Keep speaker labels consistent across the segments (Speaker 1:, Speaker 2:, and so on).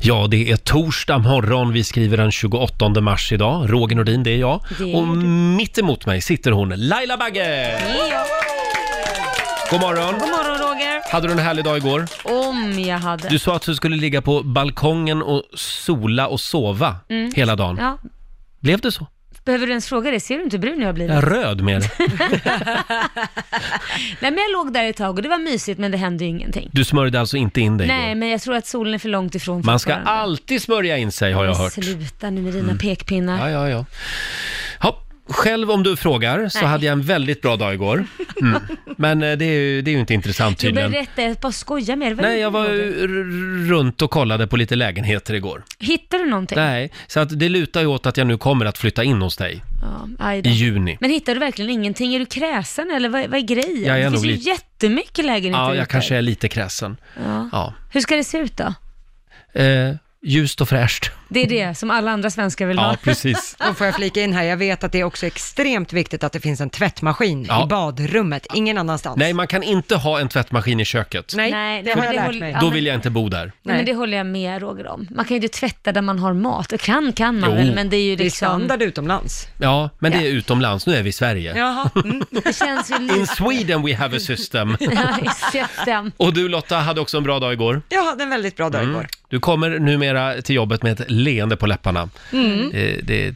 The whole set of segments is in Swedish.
Speaker 1: Ja, det är torsdag morgon. Vi skriver den 28 mars idag. Roger Nordin, det är jag.
Speaker 2: Det är
Speaker 1: Och
Speaker 2: du.
Speaker 1: mitt emot mig sitter hon, Laila Bagge! God morgon!
Speaker 2: God morgon Roger!
Speaker 1: Hade du en härlig dag igår?
Speaker 2: Om jag hade.
Speaker 1: Du sa att du skulle ligga på balkongen och sola och sova
Speaker 2: Mm.
Speaker 1: hela dagen.
Speaker 2: Ja.
Speaker 1: Blev det så?
Speaker 2: Behöver du ens fråga det? Ser du inte hur brun jag har blivit?
Speaker 1: Jag är röd mer.
Speaker 2: Nej men jag låg där ett tag och det var mysigt men det hände ju ingenting.
Speaker 1: Du smörjde alltså inte in dig
Speaker 2: Nej
Speaker 1: igår.
Speaker 2: men jag tror att solen är för långt ifrån
Speaker 1: Man ska
Speaker 2: fortfarande.
Speaker 1: alltid smörja in sig har jag
Speaker 2: Men
Speaker 1: hört.
Speaker 2: Sluta nu med dina
Speaker 1: Mm.
Speaker 2: pekpinnar.
Speaker 1: Ja, ja, ja. Ja, själv om du frågar så
Speaker 2: Nej.
Speaker 1: hade jag en väldigt bra dag igår. Mm. Men eh, det är, ju, det är ju inte intressant
Speaker 2: Du
Speaker 1: tydligen.
Speaker 2: berättar, jag bara skojar med dig. Vad är
Speaker 1: Nej,
Speaker 2: det
Speaker 1: jag
Speaker 2: för
Speaker 1: var
Speaker 2: Roger?
Speaker 1: ju r- runt och kollade på lite lägenheter igår.
Speaker 2: Hittar du någonting?
Speaker 1: Nej, så att det lutar ju åt att jag nu kommer att flytta in hos dig
Speaker 2: Ja, aj då.
Speaker 1: i juni.
Speaker 2: Men hittar du verkligen ingenting? Är du kräsen eller vad, vad är grejen?
Speaker 1: Jag är
Speaker 2: det finns
Speaker 1: nog
Speaker 2: ju
Speaker 1: lite-
Speaker 2: jättemycket lägenheter
Speaker 1: Ja, jag
Speaker 2: ute.
Speaker 1: kanske är lite kräsen.
Speaker 2: Ja.
Speaker 1: Ja.
Speaker 2: Hur ska det se ut då?
Speaker 1: Eh, ljust och fräscht.
Speaker 2: Det är det som alla andra svenskar vill ha.
Speaker 1: Ja, precis.
Speaker 3: Då får jag flika in här, jag vet att det är också extremt viktigt att det finns en tvättmaskin
Speaker 1: Ja.
Speaker 3: i badrummet, ingen annanstans.
Speaker 1: Nej, man kan inte ha en tvättmaskin i köket.
Speaker 3: Nej,
Speaker 2: Nej,
Speaker 3: det
Speaker 2: nej,
Speaker 3: har
Speaker 2: men
Speaker 3: jag
Speaker 2: det
Speaker 3: lärt
Speaker 2: håller-
Speaker 3: mig.
Speaker 2: ja,
Speaker 1: Då
Speaker 2: men-
Speaker 1: vill jag inte bo där.
Speaker 2: Nej. Men det håller jag med Roger om. Man kan ju inte tvätta där man har mat. Och Kan kan man
Speaker 1: Jo.
Speaker 2: väl, men det är ju
Speaker 3: Det är
Speaker 2: liksom...
Speaker 3: standard utomlands.
Speaker 1: Ja, men det
Speaker 2: Ja.
Speaker 1: är utomlands. Nu är vi i Sverige.
Speaker 3: Jaha, mm.
Speaker 2: Det känns ju
Speaker 1: In
Speaker 2: lite...
Speaker 1: Sweden we have a system.
Speaker 2: Ja, exakt den.
Speaker 1: Och du Lotta hade också en bra dag igår.
Speaker 3: jag hade en väldigt bra dag
Speaker 1: Mm.
Speaker 3: igår.
Speaker 1: Du kommer numera till jobbet med ett leende på läpparna.
Speaker 2: Mm.
Speaker 1: Eh, det,
Speaker 2: Det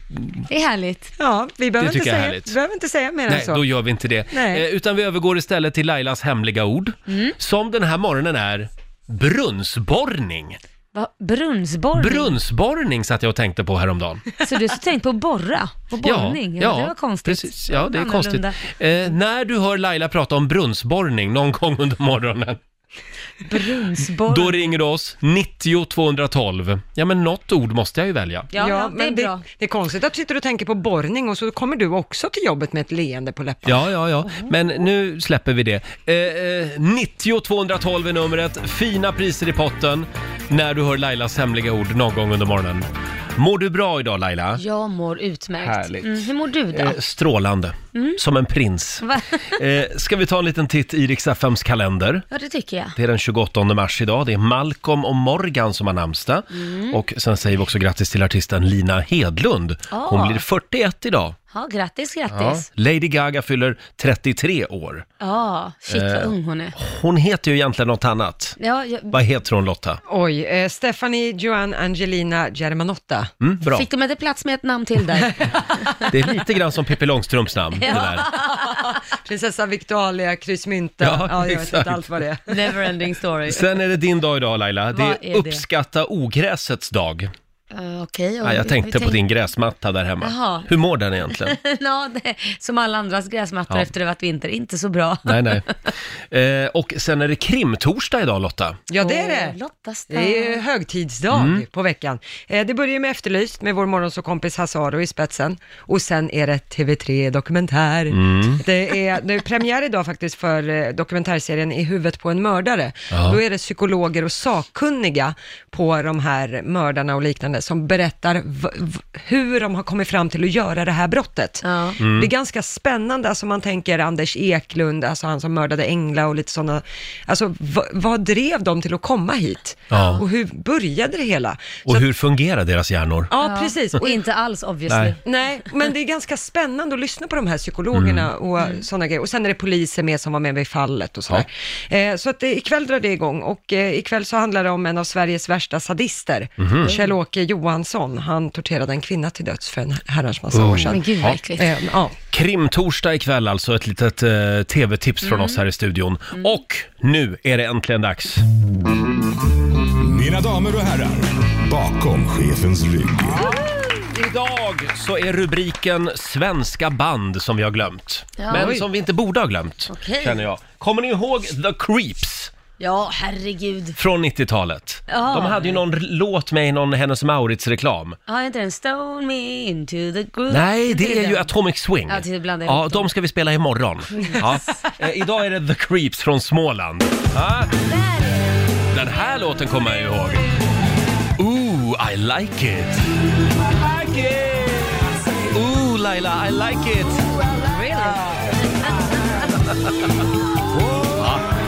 Speaker 2: är härligt.
Speaker 3: Ja, vi behöver,
Speaker 1: Det
Speaker 3: inte
Speaker 1: tycker jag är
Speaker 3: säga,
Speaker 1: härligt.
Speaker 3: vi behöver inte säga mer än
Speaker 1: nej,
Speaker 2: Alltså.
Speaker 3: så.
Speaker 1: då gör vi inte det.
Speaker 3: Nej.
Speaker 1: Eh, utan vi övergår istället till Lailas hemliga ord.
Speaker 2: Mm.
Speaker 1: Som den här morgonen är brunnsborrning.
Speaker 2: Va? Brunnsborrning.
Speaker 1: Brunnsborrning satt jag och tänkte på häromdagen.
Speaker 2: Så du har tänkt på att borra och borrning? Ja, det var konstigt.
Speaker 1: Precis. Ja, det är konstigt.
Speaker 2: Annorlunda.
Speaker 1: Eh, när du hör Laila prata om brunnsborrning någon gång under morgonen,
Speaker 2: Brunnsborrning.
Speaker 1: då ringer du oss 90 212. Ja, men något ord måste jag ju välja.
Speaker 2: Ja, ja, det är bra.
Speaker 3: Det, är konstigt att du sitter och tänker på borrning och så kommer du också till jobbet med ett leende på läpparna.
Speaker 1: Ja, ja, ja. Men nu släpper vi det. Eh, eh, 90 212 är numret. Fina priser i potten när du hör Lailas hemliga ord någon gång under morgonen. Mår du bra idag Laila?
Speaker 2: Jag mår utmärkt.
Speaker 1: Härligt.
Speaker 2: Mm, hur mår du då?
Speaker 1: Eh, strålande. Som en prins.
Speaker 2: Mm. Va?
Speaker 1: Eh, ska vi ta en liten titt i riks kalender?
Speaker 2: Ja, det tycker jag.
Speaker 1: Det är den 28 mars idag. Det är Malcolm och Morgan som har namnsdag.
Speaker 2: Mm.
Speaker 1: Och sen säger vi också grattis till artisten Lina Hedlund. Hon
Speaker 2: Ah.
Speaker 1: blir 41 idag.
Speaker 2: Ja, grattis, grattis.
Speaker 1: Lady Gaga fyller 33 år.
Speaker 2: Ja, shit
Speaker 1: Eh,
Speaker 2: vad ung hon är.
Speaker 1: Hon heter ju egentligen något annat.
Speaker 2: Ja, jag...
Speaker 1: Vad heter hon Lotta?
Speaker 3: Oj, eh, Stephanie Joanne Angelina Germanotta.
Speaker 1: Mm, bra.
Speaker 2: Fick de inte plats med ett namn till där?
Speaker 1: Det är lite grann som Pippi Långstrumps namn. Det där.
Speaker 3: Prinsessa Victoria, kryssmynta,
Speaker 1: Ja,
Speaker 3: ja, jag vet
Speaker 1: exakt.
Speaker 3: inte allt vad det är.
Speaker 2: Neverending story.
Speaker 1: Sen är det din dag idag Laila. Det
Speaker 2: Vad
Speaker 1: är,
Speaker 2: är det?
Speaker 1: uppskatta ogräsets dag.
Speaker 2: Uh, Okej.
Speaker 1: Ja, jag tänkte på din gräsmatta där hemma.
Speaker 2: Jaha.
Speaker 1: Hur mår den egentligen?
Speaker 2: ja, det, som alla andras gräsmattor
Speaker 1: Ja.
Speaker 2: efter det varit vinter. Inte så bra.
Speaker 1: Nej, nej. Eh, och sen är det krimtorsdag idag Lotta.
Speaker 3: Ja, det är
Speaker 2: Åh,
Speaker 3: det.
Speaker 2: Lottas dag.
Speaker 3: Det är ju högtidsdag på veckan. Eh, Det börjar ju med Efterlyst med vår morgonsåkompis Hasaro i spetsen. Och sen är det TV3 Dokumentär. Det, är, det är premiär idag faktiskt för eh, dokumentärserien I huvudet på en mördare.
Speaker 1: Ja.
Speaker 3: Då är det psykologer och sakkunniga på de här mördarna och liknande som berättar v- v- hur de har kommit fram till att göra det här brottet.
Speaker 2: Ja.
Speaker 1: Mm.
Speaker 3: Det är ganska spännande, alltså man tänker Anders Eklund, alltså han som mördade Engla och lite sådana, alltså v- vad drev dem till att komma hit?
Speaker 1: Ja.
Speaker 3: Och hur började det hela?
Speaker 1: Och hur fungerar deras hjärnor?
Speaker 3: Ja, precis.
Speaker 2: Och
Speaker 3: Och,
Speaker 2: inte alls obviously.
Speaker 1: Nej.
Speaker 3: nej, men det är ganska spännande att lyssna på de här psykologerna
Speaker 1: Mm.
Speaker 3: och
Speaker 2: Mm.
Speaker 3: sådana grejer. Och sen är det poliser med som var med vid fallet och sådär. Eh, så att det, ikväll drar det igång och eh, ikväll så handlar det om en av Sveriges värsta sadister,
Speaker 1: Mhm.
Speaker 3: Kjell-Åke Johansson. Han torterade en kvinna till döds för en herrans massa
Speaker 1: Oh.
Speaker 3: år
Speaker 2: Men
Speaker 3: sedan.
Speaker 2: gud
Speaker 1: Ja.
Speaker 2: vad äckligt.
Speaker 3: Eh, ja.
Speaker 1: Krimtorsdag ikväll alltså, ett litet eh, tv-tips från oss här i studion. Och nu är det äntligen dags.
Speaker 4: Mina damer och herrar, bakom chefens rygg.
Speaker 1: Idag så är rubriken svenska band som vi har glömt.
Speaker 2: Ja.
Speaker 1: Men
Speaker 2: Oj.
Speaker 1: som vi inte borde ha glömt,
Speaker 2: Okej.
Speaker 1: känner jag. Kommer ni ihåg The Creeps
Speaker 2: Ja, herregud.
Speaker 1: från 90-talet?
Speaker 2: Ja.
Speaker 1: De hade ju någon r- låt med i någon Hennes Mauritz-reklam.
Speaker 2: Har inte den Stone me into the groove?
Speaker 1: Nej, det är ju
Speaker 2: den.
Speaker 1: Atomic Swing.
Speaker 2: Ja, det blandar jag
Speaker 1: ja,
Speaker 2: ihop dem.
Speaker 1: de ska vi spela imorgon. Ja. Eh, idag är det The Creeps från Småland. Ja. Den här låten kommer jag ihåg. Ooh, I like it. Like it. Ooh, Laila, I like it. Ja,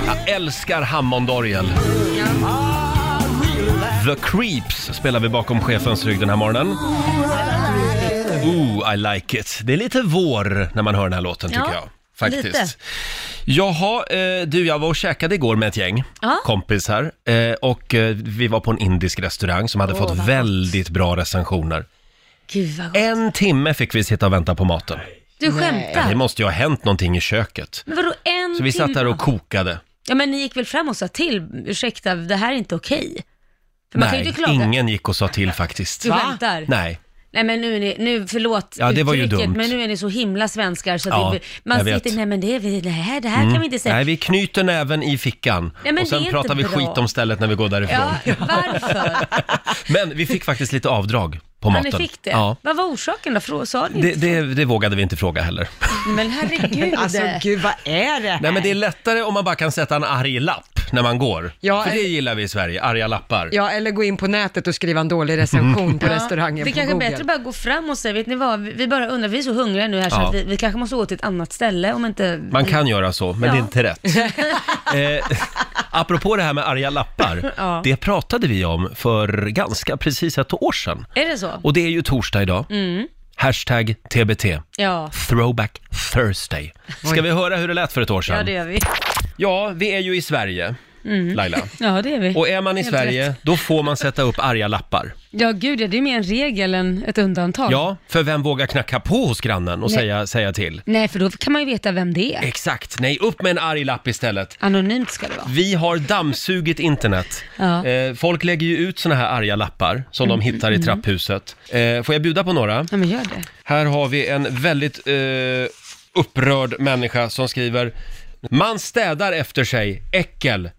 Speaker 1: jag älskar Hammondorgel. The Creeps spelar vi bakom chefens rygg den här morgonen. Ooh, I like it. Det är lite vår när man hör den här låten tycker
Speaker 5: Ja,
Speaker 1: jag. Faktiskt.
Speaker 5: lite.
Speaker 1: Jaha, eh, du jag var och käkade igår med ett gäng
Speaker 5: Ja.
Speaker 1: kompisar eh, och eh, vi var på en indisk restaurang som hade
Speaker 5: Åh, vad
Speaker 1: fått
Speaker 5: gott.
Speaker 1: väldigt bra recensioner.
Speaker 5: Gud vad gott.
Speaker 1: En timme fick vi sitta och vänta på maten.
Speaker 5: Du
Speaker 1: Det
Speaker 5: skämtar.
Speaker 1: måste ju ha hänt någonting i köket.
Speaker 5: Men vadå en
Speaker 1: Så vi satt
Speaker 5: timme?
Speaker 1: där och kokade.
Speaker 5: Ja men ni gick väl fram och sa till, ursäkta det här är inte okej. För man kan ju
Speaker 1: Nej,
Speaker 5: inte klaga.
Speaker 1: ingen gick och sa till faktiskt.
Speaker 5: Du skämtar?
Speaker 1: Nej.
Speaker 5: Nej men nu är ni, nu förlåt
Speaker 1: Ja, det var ju
Speaker 5: uttrycket,
Speaker 1: dumt.
Speaker 5: men nu är ni så himla svenskar så att
Speaker 1: Ja,
Speaker 5: vi, man
Speaker 1: jag vet. Mm.
Speaker 5: sitter, nej men det, är vi- nej, det här kan vi inte säga.
Speaker 1: Nej, vi knyter näven i fickan
Speaker 5: Nej, men
Speaker 1: och sen
Speaker 5: det är
Speaker 1: pratar vi
Speaker 5: inte bra.
Speaker 1: skit om stället när vi går därifrån.
Speaker 5: Ja, varför?
Speaker 1: Men vi fick faktiskt lite avdrag på
Speaker 5: Ja,
Speaker 1: maten.
Speaker 5: ni fick det?
Speaker 1: Ja.
Speaker 5: Vad var orsaken då? Frå, sa ni
Speaker 1: Det,
Speaker 5: inte?
Speaker 1: det, det vågade vi inte fråga heller.
Speaker 5: Men herregud.
Speaker 3: Alltså gud, vad är det?
Speaker 1: Nej, men det är lättare om man bara kan sätta en arg lapp när man går.
Speaker 3: Ja,
Speaker 1: För det
Speaker 3: eller-
Speaker 1: gillar vi i Sverige, arga lappar.
Speaker 3: Ja, eller gå in på nätet och skriva en dålig recension
Speaker 2: Mm.
Speaker 3: på restaurangen
Speaker 5: det
Speaker 3: på
Speaker 5: kanske är
Speaker 3: Google.
Speaker 5: bättre att bara gå fram och säga, vet ni vad, vi, vi bara undrar, vi är så hungriga nu här så
Speaker 1: Ja.
Speaker 5: att vi, vi kanske måste gå till ett annat ställe om inte...
Speaker 1: Man kan göra så, men det är
Speaker 5: Ja.
Speaker 1: inte rätt. eh, apropå det här med arga lappar,
Speaker 5: Ja.
Speaker 1: det pratade vi om för ganska precis ett år sedan.
Speaker 5: Är det så?
Speaker 1: Och det är ju torsdag idag.
Speaker 2: Mm.
Speaker 1: Hashtag TBT.
Speaker 5: Ja.
Speaker 1: Throwback Thursday. Ska vi höra hur det lät för ett år sedan?
Speaker 5: ja, det gör vi.
Speaker 1: Ja, vi är ju i Sverige, Laila.
Speaker 2: Ja, det är vi.
Speaker 1: Och är man i
Speaker 2: Mm. Helt
Speaker 1: Sverige,
Speaker 2: rätt.
Speaker 1: då får man sätta upp arga lappar.
Speaker 2: Ja, gud ja, det är mer en regel än ett undantag.
Speaker 1: Ja, för vem vågar knacka på hos grannen och säga, säga till?
Speaker 2: Nej, för då kan man ju veta vem det
Speaker 1: Eh.
Speaker 2: är.
Speaker 1: Exakt, nej, upp med en arg lapp istället.
Speaker 2: Anonymt ska det vara.
Speaker 1: Vi har dammsugit internet.
Speaker 2: Ja. Mm.
Speaker 1: Eh, folk lägger ju ut såna här arga lappar som de hittar i trapphuset. Eh, får jag bjuda på några?
Speaker 2: Ja, men gör det.
Speaker 1: Här har vi en väldigt eh, upprörd människa som skriver Man städar efter sig, äckel,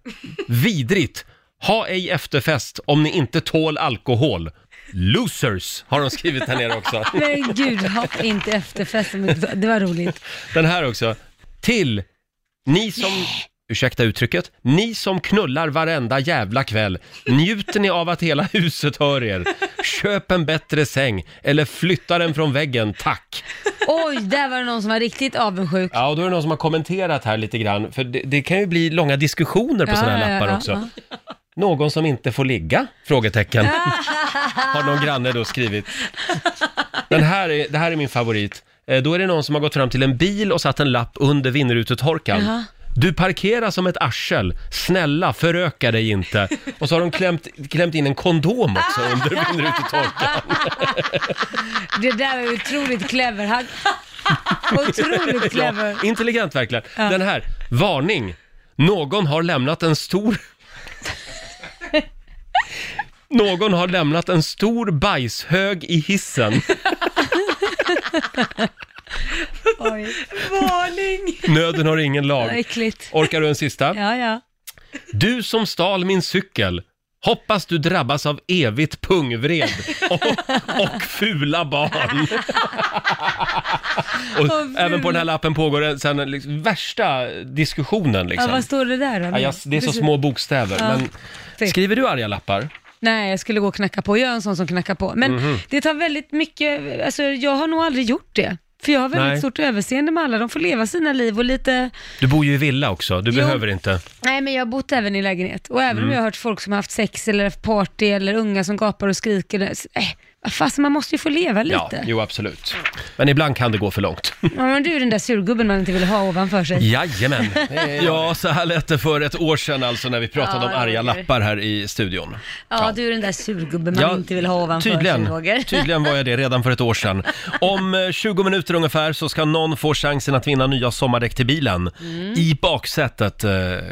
Speaker 1: vidrigt, ha ej efterfest om ni inte tål alkohol. Losers har de skrivit här nere också.
Speaker 2: Men gud, ha inte efterfest. men Det var roligt.
Speaker 1: Den här också. Till ni som, ursäkta uttrycket, ni som knullar varenda jävla kväll, njuter ni av att hela huset hör er? Köp en bättre säng eller flytta den från väggen, tack.
Speaker 2: Oj, där var det någon som var riktigt avundsjuk.
Speaker 1: Ja, och då är det någon som har kommenterat här lite grann, för det, det kan ju bli långa diskussioner på
Speaker 2: Ja,
Speaker 1: sådana här
Speaker 2: ja,
Speaker 1: lappar
Speaker 2: ja,
Speaker 1: också. Någon som inte får ligga? Frågetecken. har någon granne då skrivit. Den här är, det här är min favorit. Eh, Då är det någon som har gått fram till en bil och satt en lapp under vindrutetorkaren. Du parkerar som ett arsel, snälla föröka dig inte. Och så har de klämt, klämt in en kondom också under vindrutetorkaren.
Speaker 2: Det där var ju otroligt clever. Han... Otroligt clever.
Speaker 1: Ja, intelligent verkligen. Den här, varning. Någon har lämnat en stor... Någon har lämnat en stor bajshög i hissen.
Speaker 2: Oj,
Speaker 1: Nöden har ingen
Speaker 2: vad
Speaker 1: lag.
Speaker 2: äckligt.
Speaker 1: Orkar du en sista?
Speaker 2: Ja, ja.
Speaker 1: Du som stal min cykel. Hoppas du drabbas av evigt pungvred och, och fula barn. och även på den här lappen pågår det sen den liksom, värsta diskussionen.
Speaker 2: ja
Speaker 1: Liksom.
Speaker 2: vad står det där då?
Speaker 1: Ja, jag, det är så små bokstäver. Men
Speaker 2: Fy.
Speaker 1: skriver du arga lappar?
Speaker 2: Nej, jag skulle gå och knacka på. Jag är en sån som knackar på. Men
Speaker 1: Mhm.
Speaker 2: det tar väldigt mycket, alltså jag har nog aldrig gjort det. För jag har väldigt
Speaker 1: Nej.
Speaker 2: stort överseende med alla. De får leva sina liv och lite,
Speaker 1: Du bor ju i villa också, du
Speaker 2: Jo.
Speaker 1: behöver inte.
Speaker 2: Nej, men jag har bott även i lägenhet. Och även om
Speaker 1: Mm.
Speaker 2: jag har hört folk som har haft sex eller haft party eller unga som gapar och skriker. Eh, vad fasen, man måste ju få leva
Speaker 1: Ja,
Speaker 2: lite.
Speaker 1: jo absolut. Men ibland kan det gå för långt.
Speaker 2: Ja, men du är den där surgubben man inte vill ha ovanför sig.
Speaker 1: Jajamän. Ja, så här lät det för ett år sedan alltså när vi pratade
Speaker 2: Ja,
Speaker 1: om arga
Speaker 2: Roger.
Speaker 1: lappar här i studion.
Speaker 2: Ja, du är den där surgubben man inte vill ha ovanför sig,
Speaker 1: tydligen,
Speaker 2: Roger.
Speaker 1: tydligen var jag det redan för ett år sedan. Om eh, 20 minuter ungefär så ska någon få chansen att vinna nya sommardäck till bilen.
Speaker 2: Mm.
Speaker 1: I baksätet eh,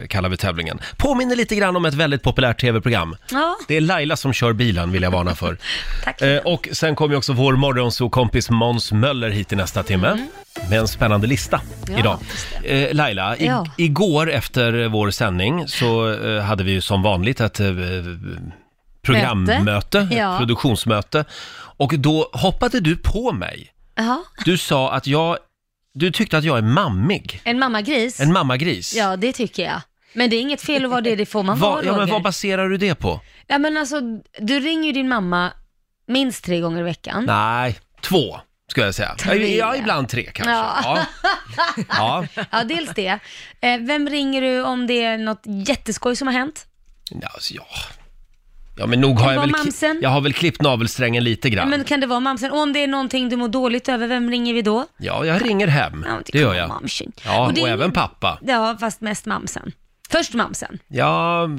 Speaker 1: kallar vi tävlingen. Påminner lite grann om ett väldigt populärt tv-program.
Speaker 2: Ja.
Speaker 1: Det är Laila som kör bilen vill jag varna för.
Speaker 5: Tack.
Speaker 1: Eh, och sen kommer ju också vår morgonsokompis Måns Möller hit i nästa timme.
Speaker 5: Mm.
Speaker 1: Med en spännande lista idag. Eh, Laila, i-
Speaker 5: Ja.
Speaker 1: igår efter vår sändning så eh, hade vi ju som vanligt ett eh, programmöte, ett
Speaker 5: Ja.
Speaker 1: produktionsmöte. Och då hoppade du på mig.
Speaker 5: Jaha.
Speaker 1: Du sa att jag, du tyckte att jag är mammig.
Speaker 5: En mammagris?
Speaker 1: En mammagris.
Speaker 5: Ja, det tycker jag. Men det är inget fel att vara det, det får man
Speaker 1: Vad-
Speaker 5: vara
Speaker 1: ja, men
Speaker 5: Roger.
Speaker 1: vad baserar du det på?
Speaker 5: Ja men alltså, du ringer ju din mamma minst tre gånger i veckan.
Speaker 1: Nej, två skulle jag säga.
Speaker 5: Tre.
Speaker 1: Ja, ibland tre kanske. Ja. Ja.
Speaker 5: Ja, dels det. Eh, vem ringer du om det är något jätteskoj som har hänt?
Speaker 1: Ja, alltså, ja. Ja, men nog har
Speaker 2: Det
Speaker 1: jag
Speaker 2: var
Speaker 1: väl,
Speaker 2: mamsen.
Speaker 1: jag har väl klippt navelsträngen lite grann.
Speaker 2: Men kan det vara mamsen? Och om det är någonting du mår dåligt över, vem ringer vi då?
Speaker 1: Ja, jag ringer hem.
Speaker 2: Ja,
Speaker 1: det gör
Speaker 2: kommer
Speaker 1: jag.
Speaker 2: Mamsen.
Speaker 1: Ja, och,
Speaker 2: det är ingen-
Speaker 1: även pappa.
Speaker 2: Ja, fast mest mamsen. Först mamsen.
Speaker 1: Ja,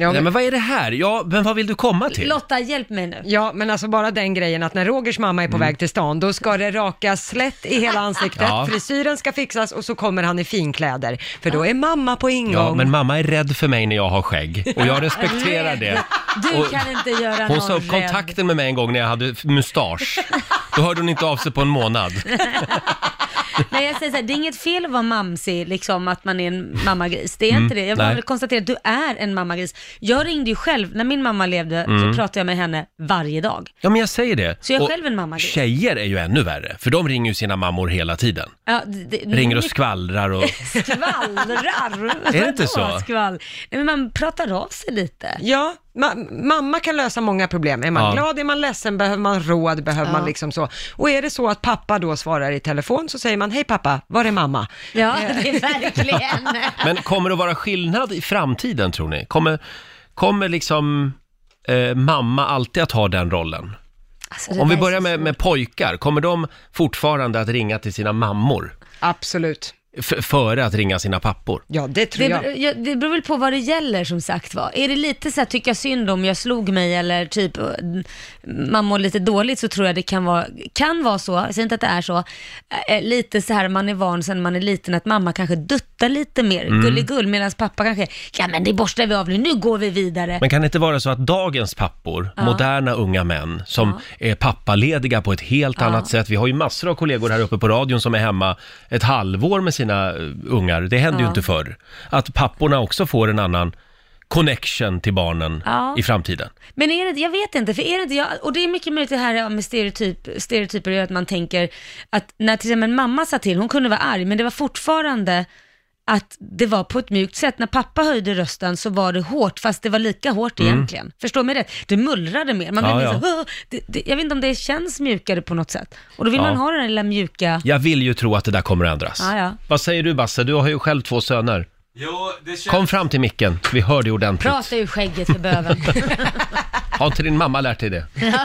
Speaker 3: Ja,
Speaker 1: nej
Speaker 3: men,
Speaker 1: men vad är det här? Ja, men vad vill du komma till?
Speaker 2: Lotta, hjälp mig nu.
Speaker 3: ja, men alltså bara den grejen att när Rogers mamma är på väg till stan, då ska det rakas slätt i hela ansiktet,
Speaker 1: Mm. Ja.
Speaker 3: frisyren ska fixas och så kommer han i finkläder. För då är mamma på ingång.
Speaker 1: Ja, men mamma är rädd för mig när jag har skägg och jag respekterar det.
Speaker 2: Du
Speaker 1: Och-
Speaker 2: kan inte göra någon
Speaker 1: Hon sa upp
Speaker 2: rädd.
Speaker 1: kontakten med mig en gång när jag hade f- mustasch. Då hörde hon inte av sig på en månad.
Speaker 2: Nej, jag säger så här, det är inget fel att vara mamsig, liksom att man är en mammagris. Det är inte det. Jag
Speaker 1: Mm, nej.
Speaker 2: bara vill konstatera att du är en mammagris. Jag ringde ju själv, när min mamma levde
Speaker 1: Mm.
Speaker 2: så pratade jag med henne varje dag.
Speaker 1: Ja, men jag säger det.
Speaker 2: Så jag är
Speaker 1: Och
Speaker 2: själv en mamma.
Speaker 1: Tjejer är ju ännu värre, för de ringer ju sina mammor hela tiden.
Speaker 2: Ja, det, det-
Speaker 1: Ringer och skvallrar och...
Speaker 2: skvallrar.
Speaker 1: Är det inte
Speaker 2: Vadå
Speaker 1: så?
Speaker 2: Skvall? Nej, men man pratar av sig lite.
Speaker 3: Ja, ma- mamma kan lösa många problem. Är man
Speaker 1: Ja.
Speaker 3: glad, är man ledsen, behöver man råd, behöver
Speaker 2: Ja.
Speaker 3: man liksom så. Och är det så att pappa då svarar i telefon så säger man, hej pappa, var är mamma?
Speaker 2: Ja, det är verkligen.
Speaker 1: Men kommer det att vara skillnad i framtiden tror ni? Kommer, kommer liksom eh, mamma alltid att ha den rollen?
Speaker 2: Alltså, det
Speaker 1: Om vi
Speaker 2: där är
Speaker 1: börjar
Speaker 2: så
Speaker 1: med,
Speaker 2: svårt.
Speaker 1: med pojkar, kommer de fortfarande att ringa till sina mammor?
Speaker 3: Absolut.
Speaker 1: F- före att ringa sina pappor?
Speaker 3: Ja, det tror
Speaker 2: Det,
Speaker 3: jag.
Speaker 2: beror- ja, det beror väl på vad det gäller som sagt var. Är det lite så här tycka synd om jag slog mig eller typ eh, man mår lite dåligt så tror jag det kan vara, kan vara så, jag säger inte att det är så, eh, lite så här man är van sen man är liten att mamma kanske duttar lite mer,
Speaker 3: Mm.
Speaker 2: gulligull, medan pappa kanske, ja men det borstar vi av nu, nu går vi vidare.
Speaker 1: Men kan det inte vara så att dagens pappor, moderna unga män som är pappalediga på ett helt annat sätt. Vi har ju massor av kollegor här uppe på radion som är hemma ett halvår med sina eh, ungar. Det hände ju
Speaker 2: Ja.
Speaker 1: inte förr. Att papporna också får en annan connection till barnen
Speaker 2: Ja.
Speaker 1: i framtiden.
Speaker 2: Men är det jag vet inte, för är det inte, jag, och det är mycket möjligt det här med stereotyp, stereotyper, gör att man tänker att när till exempel mamma sa till, hon kunde vara arg, men det var fortfarande att det var på ett mjukt sätt. När pappa höjde rösten så var det hårt, fast det var lika hårt egentligen. Förstår mig rätt? Det mullrade mer. Man
Speaker 1: Mm. Ja,
Speaker 2: blev
Speaker 1: ja.
Speaker 2: ja. så, "Åh!" det, det, jag vet inte om det känns mjukare på något sätt. Och då vill
Speaker 1: Ja.
Speaker 2: man ha den där lilla mjuka...
Speaker 1: Jag vill ju tro att det där kommer att ändras.
Speaker 2: Ja, ja.
Speaker 1: Vad säger du Basse? Du har ju själv två söner.
Speaker 6: Jo, det känns...
Speaker 1: Kom fram till micken, vi hör dig ordentligt.
Speaker 2: Prata ur skägget för böven.
Speaker 1: Har inte din mamma lärt dig det?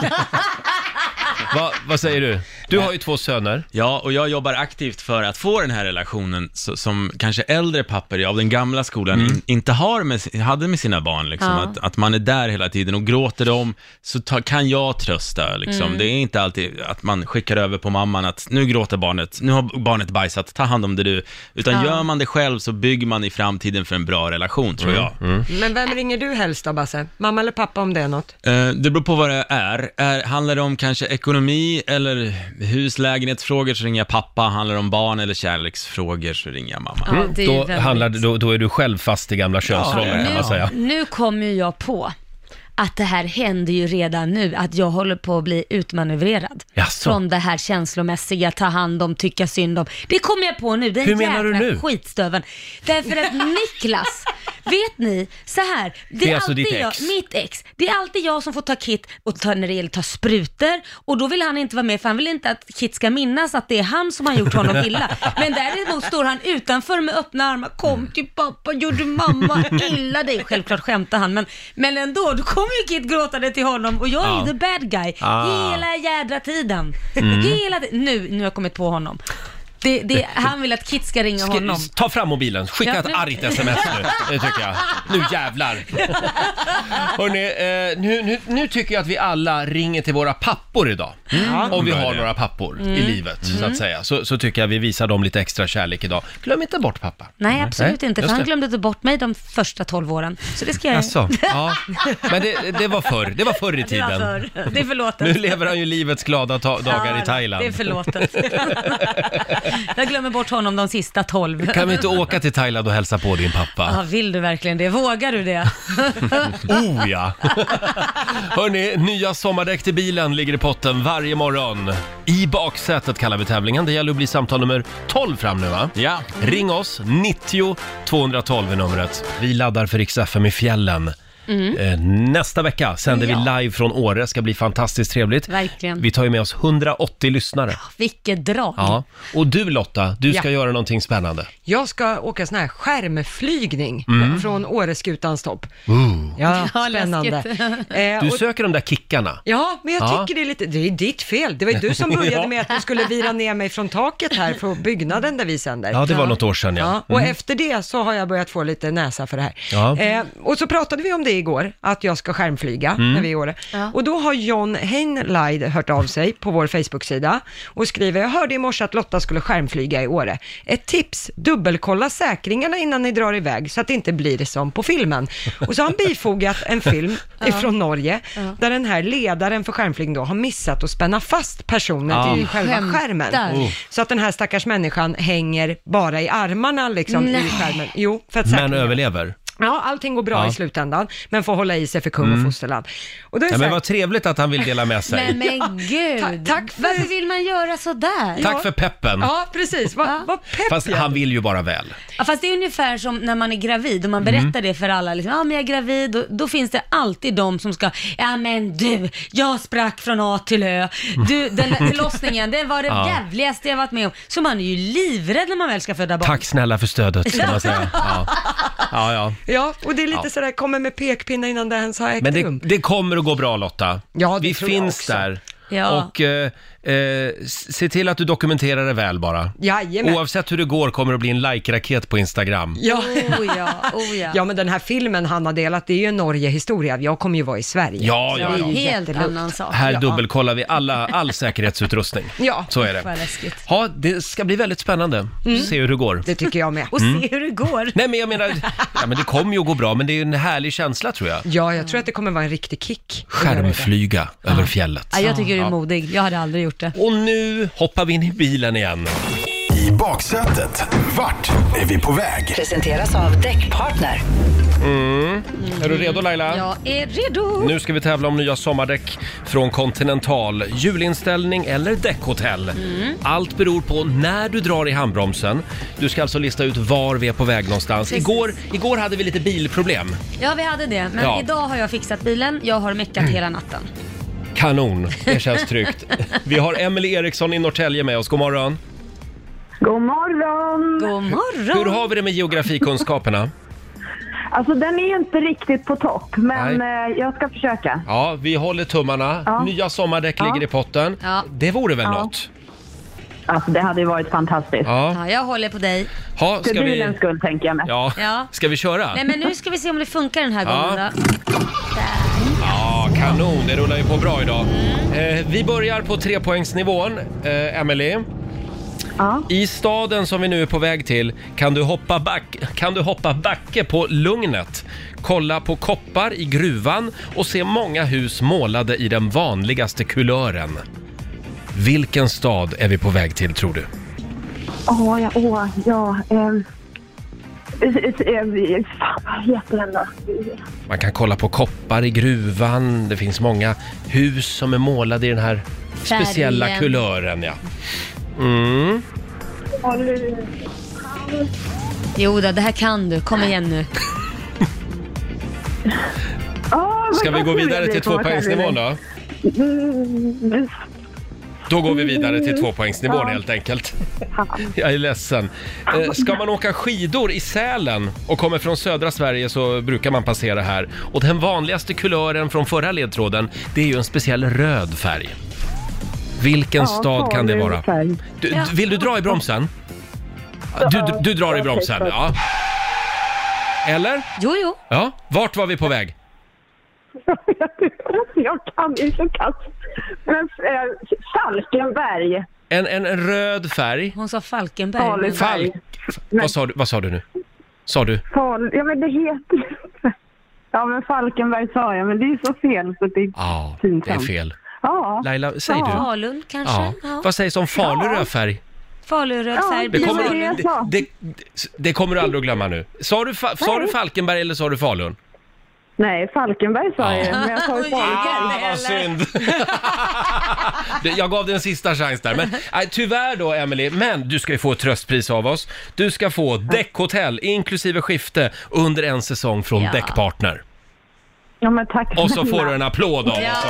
Speaker 1: Va, vad säger du? Du har ju två söner.
Speaker 6: Ja, och jag jobbar aktivt för att få den här relationen så, som kanske äldre pappor av den gamla skolan in, inte har med, si- hade med sina barn. Liksom,
Speaker 2: Mm. Ja.
Speaker 6: att, att man är där hela tiden och gråter de, så ta, kan jag trösta. Liksom.
Speaker 2: Mm.
Speaker 6: Det är inte alltid att man skickar över på mamman att nu gråter barnet, nu har barnet bajsat, ta hand om det du. Utan
Speaker 2: Ja.
Speaker 6: gör man det själv så bygger man i framtiden för en bra relation, tror
Speaker 2: Mm.
Speaker 6: jag.
Speaker 3: Men vem ringer du helst då, Basse? Mamma eller pappa om det är något?
Speaker 6: Eh, Det beror på vad det är. är. Handlar det om kanske ekonomi eller hus, lägenhetsfrågor så ringer jag pappa. Handlar det om barn eller kärleksfrågor så ringer jag mamma.
Speaker 2: Ja, det är ju
Speaker 1: Mm. Då,
Speaker 2: väldigt-
Speaker 1: handlar, det- då, då är du själv fast i gamla könsroller kan man säga.
Speaker 2: Nu, nu kom ju jag på att det här händer ju redan nu, att jag håller på att bli utmanövrerad.
Speaker 1: Jaså?
Speaker 2: Från det här känslomässiga, ta hand om, tycka synd om. Det kommer jag på nu, den
Speaker 1: Hur menar du
Speaker 2: jävla
Speaker 1: nu?
Speaker 2: skitstöven. Därför att Niklas, vet ni, så här, det
Speaker 1: Det
Speaker 2: är,
Speaker 1: är alltså
Speaker 2: alltid
Speaker 1: ditt
Speaker 2: jag,
Speaker 1: ex?
Speaker 2: mitt ex, det är alltid jag som får ta Kit och ta, när det gäller att ta sprutor och då vill han inte vara med för han vill inte att Kit ska minnas att det är han som har gjort honom illa. Men däremot står han utanför med öppna armar, kom till pappa, gjorde mamma illa dig. Självklart skämtar han men, men ändå, då kommer ju Kit gråtande till honom och jag är
Speaker 1: Ja.
Speaker 2: ju the bad guy
Speaker 1: Ah. Mm.
Speaker 2: hela jädra tiden. Hela ti- nu, nu har jag kommit på honom. Det, det, han vill att Kit ska ringa honom.
Speaker 1: Ska- Mm. Ta fram mobilen, skicka
Speaker 2: Ja,
Speaker 1: ett
Speaker 2: nu-
Speaker 1: argt sms nu, det tycker jag. Nu jävlar! Hörrni, eh, nu, nu, nu tycker jag att vi alla ringer till våra pappor idag.
Speaker 2: Mm.
Speaker 1: Mm. Om vi
Speaker 6: Bra
Speaker 1: har
Speaker 6: idé.
Speaker 1: några pappor i livet, så att säga. Så, så tycker jag vi visar dem lite extra kärlek idag. Glöm inte bort pappa.
Speaker 2: Nej, absolut
Speaker 1: Nej,
Speaker 2: inte, för
Speaker 1: just
Speaker 2: han
Speaker 1: det.
Speaker 2: glömde ta bort mig de första 12 åren. Så det ska jag
Speaker 1: Alltså, ja. Men det, det var förr, det var förr i
Speaker 2: Det var
Speaker 1: tiden.
Speaker 2: förr. Alltså, Det är förlåtet.
Speaker 1: Nu lever han ju livets glada ta- dagar i
Speaker 2: Ja, Det är
Speaker 1: Thailand.
Speaker 2: förlåtet. jag glömmer bort honom de sista 12.
Speaker 1: Kan vi inte åka till Thailand och hälsa på din pappa?
Speaker 2: Ja, vill du verkligen det? Vågar du det?
Speaker 1: Oh ja! Hörni, nya sommardäck till bilen ligger i potten varje morgon. I baksätet kallar vi tävlingen. Det gäller att bli samtal nummer 12 fram nu va?
Speaker 6: Ja.
Speaker 1: Ring oss, 90 212 är numret. Vi laddar för Rix FM i fjällen.
Speaker 3: Mm.
Speaker 1: Eh, Nästa vecka sänder vi live från Åre, ska bli fantastiskt trevligt.
Speaker 2: Verkligen.
Speaker 1: Vi tar ju med oss 180 lyssnare.
Speaker 2: Vilket drag.
Speaker 1: Ja. Och du Lotta, du ska
Speaker 3: Ja.
Speaker 1: göra någonting spännande.
Speaker 3: Jag ska åka sån här skärmflygning
Speaker 1: Mm.
Speaker 3: från Åreskutans topp. Ja,
Speaker 2: Ja,
Speaker 3: spännande.
Speaker 2: läskigt.
Speaker 3: Eh,
Speaker 1: Du
Speaker 3: och-
Speaker 1: söker de där kickarna.
Speaker 3: Ja, men jag
Speaker 1: Ja.
Speaker 3: tycker det är lite, det är ditt fel. Det var ju du som
Speaker 1: Ja.
Speaker 3: började med att du skulle vira ner mig från taket här på byggnaden där vi sänder.
Speaker 1: Ja, det var något år sedan ja.
Speaker 3: Ja, och efter det så har jag börjat få lite näsa för det här.
Speaker 1: Mm. Ja.
Speaker 3: Eh, och så pratade vi om det igår, att jag ska skärmflyga
Speaker 1: Mm.
Speaker 3: när vi är i Åre. Och då har John Heinleid hört av sig på vår Facebook-sida och skriver, jag hörde i morse att Lotta skulle skärmflyga i Åre. Ett tips, dubbelkolla säkringarna innan ni drar iväg så att det inte blir som på filmen. Och så har han bifogat en film ifrån Norge, där den här ledaren för skärmflygning då har missat att spänna fast personen
Speaker 1: Ah. Oh.
Speaker 3: i själva
Speaker 2: Skämtar.
Speaker 3: skärmen. Så att den här stackars människan hänger bara i armarna liksom i skärmen. Jo, för att
Speaker 1: Men
Speaker 3: säkra-
Speaker 1: överlever.
Speaker 3: Ja, allting går bra
Speaker 1: Ja. Mm.
Speaker 3: i slutändan, men får hålla i sig för kung och fosterland. Och då är
Speaker 1: Ja,
Speaker 3: det så
Speaker 1: men
Speaker 3: här,
Speaker 1: vad trevligt att han vill dela med sig.
Speaker 2: Men, men gud.
Speaker 3: Ta- tack för-
Speaker 2: Varför vill man göra sådär?
Speaker 1: Tack för peppen.
Speaker 3: Ja, precis. Vad vad pepp
Speaker 1: Fast
Speaker 3: jag är.
Speaker 1: han vill ju bara väl.
Speaker 2: Ja, fast det är ungefär som när man är gravid och man
Speaker 1: Mm.
Speaker 2: berättar det för alla. Liksom, ja, men jag är gravid. Då, då finns det alltid de som ska, ja men du, jag sprack från A till Ö. Du, den där förlossningen, det var det
Speaker 1: Ja.
Speaker 2: jävligaste jag varit med om. Så man är ju livrädd när man väl ska föda barn.
Speaker 1: Tack snälla för stödet, ska man säga. Ja, ja. ja.
Speaker 3: Ja, och det är lite
Speaker 1: Ja.
Speaker 3: sådär, kommer med pekpinnar innan det ens har ägt
Speaker 1: Men
Speaker 3: rum.
Speaker 1: det, det kommer att gå bra Lotta.
Speaker 3: Ja, det
Speaker 1: Vi
Speaker 3: tror jag
Speaker 1: finns
Speaker 3: också.
Speaker 1: där.
Speaker 2: Ja.
Speaker 1: Och eh, eh, s- se till att du dokumenterar det väl bara.
Speaker 3: Jajamän.
Speaker 1: Oavsett hur det går kommer det bli en like-raket på Instagram.
Speaker 3: Ja.
Speaker 2: Oh ja, oh ja.
Speaker 3: ja, men den här filmen han har delat, det är ju en Norge-historia. Jag kommer ju vara i Sverige.
Speaker 1: Ja, ja,
Speaker 2: det är
Speaker 1: ja.
Speaker 2: en helt
Speaker 3: jättelugnt.
Speaker 2: annan sak.
Speaker 1: Här dubbelkollar vi alla, all säkerhetsutrustning.
Speaker 3: Ja.
Speaker 1: Så är det.
Speaker 2: Vad läskigt.
Speaker 1: Ja, det ska bli väldigt spännande. Se hur det går.
Speaker 3: Mm. Det tycker jag med.
Speaker 2: Och
Speaker 1: Mm.
Speaker 2: se hur det går.
Speaker 1: Nej men jag menar, ja, men det kommer ju att gå bra men det är ju en härlig känsla tror jag.
Speaker 3: Ja, jag tror att det kommer vara en riktig kick.
Speaker 1: Skärmflyga över fjället.
Speaker 2: Ja, jag tycker du är modig. Jag hade aldrig gjort det.
Speaker 1: Och nu hoppar vi in i bilen igen.
Speaker 7: I baksätet. Vart är vi på väg?
Speaker 8: Presenteras av Däckpartner.
Speaker 1: Är du redo Laila?
Speaker 2: Jag är redo.
Speaker 1: Nu ska vi tävla om nya sommardäck från Continental. Hjulinställning eller däckhotell.
Speaker 2: Mm.
Speaker 1: Allt beror på när du drar i handbromsen. Du ska alltså lista ut var vi är på väg någonstans.
Speaker 2: Precis.
Speaker 1: Igår, igår hade vi lite bilproblem.
Speaker 2: Ja, vi hade det. Men
Speaker 1: Ja. Mm.
Speaker 2: idag har jag fixat bilen. Jag har meckat hela natten.
Speaker 1: Kanon, det känns tryggt. Vi har Emily Eriksson i Norrtälje med oss. God morgon.
Speaker 9: God morgon!
Speaker 2: God morgon.
Speaker 1: Hur har vi det med geografikunskaperna?
Speaker 9: Alltså den är inte riktigt på topp, men eh, jag ska försöka.
Speaker 1: Ja, vi håller tummarna. Nya sommardäck ligger i potten.
Speaker 2: Ja.
Speaker 1: Det vore väl något?
Speaker 9: Alltså det hade ju varit fantastiskt.
Speaker 1: Ja.
Speaker 2: Ja, jag håller på dig.
Speaker 1: Ha,
Speaker 9: För
Speaker 1: ska, vi...
Speaker 9: bilens skull tänker jag med.
Speaker 1: Ja.
Speaker 2: Ja.
Speaker 1: ska vi köra?
Speaker 2: Nej men nu ska vi se om det funkar den här
Speaker 1: Ja.
Speaker 2: gången då.
Speaker 1: Ja, kanon. Det rullar ju på bra idag. Eh, vi börjar på trepoängsnivån, eh, Emily.
Speaker 9: Ja.
Speaker 1: I staden som vi nu är på väg till kan du, hoppa back, kan du hoppa backe på Lugnet, kolla på koppar i gruvan och se många hus målade i den vanligaste kulören. Vilken stad är vi på väg till tror du?
Speaker 9: Åh, ja, åh, ja. ehm. Eh, eh, eh, Fan, vad heter den då?
Speaker 1: Man kan kolla på koppar i gruvan, det finns många hus som är målade i den här speciella
Speaker 2: Färgen.
Speaker 1: kulören. Ja. Mm.
Speaker 9: Ja, nu-
Speaker 2: Jo då, det här kan du. Kom igen nu.
Speaker 9: Ja, vad-
Speaker 1: Ska vi
Speaker 9: vad
Speaker 1: gå
Speaker 9: kul
Speaker 1: vidare
Speaker 9: det
Speaker 1: till
Speaker 9: blir på
Speaker 1: tvåpoängsnivån då?
Speaker 9: Mm,
Speaker 1: Då går vi vidare till tvåpoängsnivån helt enkelt. Jag är ledsen. Eh, Ska man åka skidor i Sälen och kommer från södra Sverige så brukar man passera här. Och den vanligaste kulören från förra ledtråden, det är ju en speciell röd färg. Vilken
Speaker 9: ja,
Speaker 1: stad kan det vara?
Speaker 9: Falun.
Speaker 1: Du, d- Vill du dra i bromsen? Du, du, du drar i bromsen, ja. Eller?
Speaker 2: Jo jo.
Speaker 1: Ja. Vart var vi på väg?
Speaker 9: Jag kan ju så kass. Men eh, Falkenberg.
Speaker 1: En, en, en röd färg.
Speaker 2: Hon sa Falkenberg. men-
Speaker 9: Falkenberg.
Speaker 1: Falk. Vad sa du, vad sa du nu? Sa du?
Speaker 9: Fal... Ja, men det heter ju inte- Ja, men Falkenberg sa jag, men det är ju så fel så det är...
Speaker 1: Ja, det är
Speaker 9: Pinsamt.
Speaker 1: fel.
Speaker 9: Ja.
Speaker 1: Laila, säg
Speaker 9: Ja.
Speaker 1: du.
Speaker 2: Falun kanske?
Speaker 1: Ja.
Speaker 2: Ja.
Speaker 1: Vad sägs om Falu rödfärg?
Speaker 2: Faluröd
Speaker 9: Ja,
Speaker 2: färg.
Speaker 1: Det
Speaker 9: Ja,
Speaker 1: kommer,
Speaker 9: men
Speaker 1: du,
Speaker 9: det är så.
Speaker 1: det, det, det kommer du aldrig att glömma nu. Sa du, fa, sa du Falkenberg eller sa du Falun?
Speaker 9: Nej, Falkenberg sa jag men jag sa ju Falkenberg.
Speaker 1: Ah, vad synd! Det- Jag gav dig en sista chans där. Men, nej, tyvärr då, Emily. men du ska ju få ett tröstpris av oss. Du ska få däckhotell inklusive skifte under en säsong från
Speaker 2: Ja.
Speaker 1: Däckpartner.
Speaker 9: Ja, men tack
Speaker 1: Och så får
Speaker 9: snälla.
Speaker 1: du en applåd av oss också.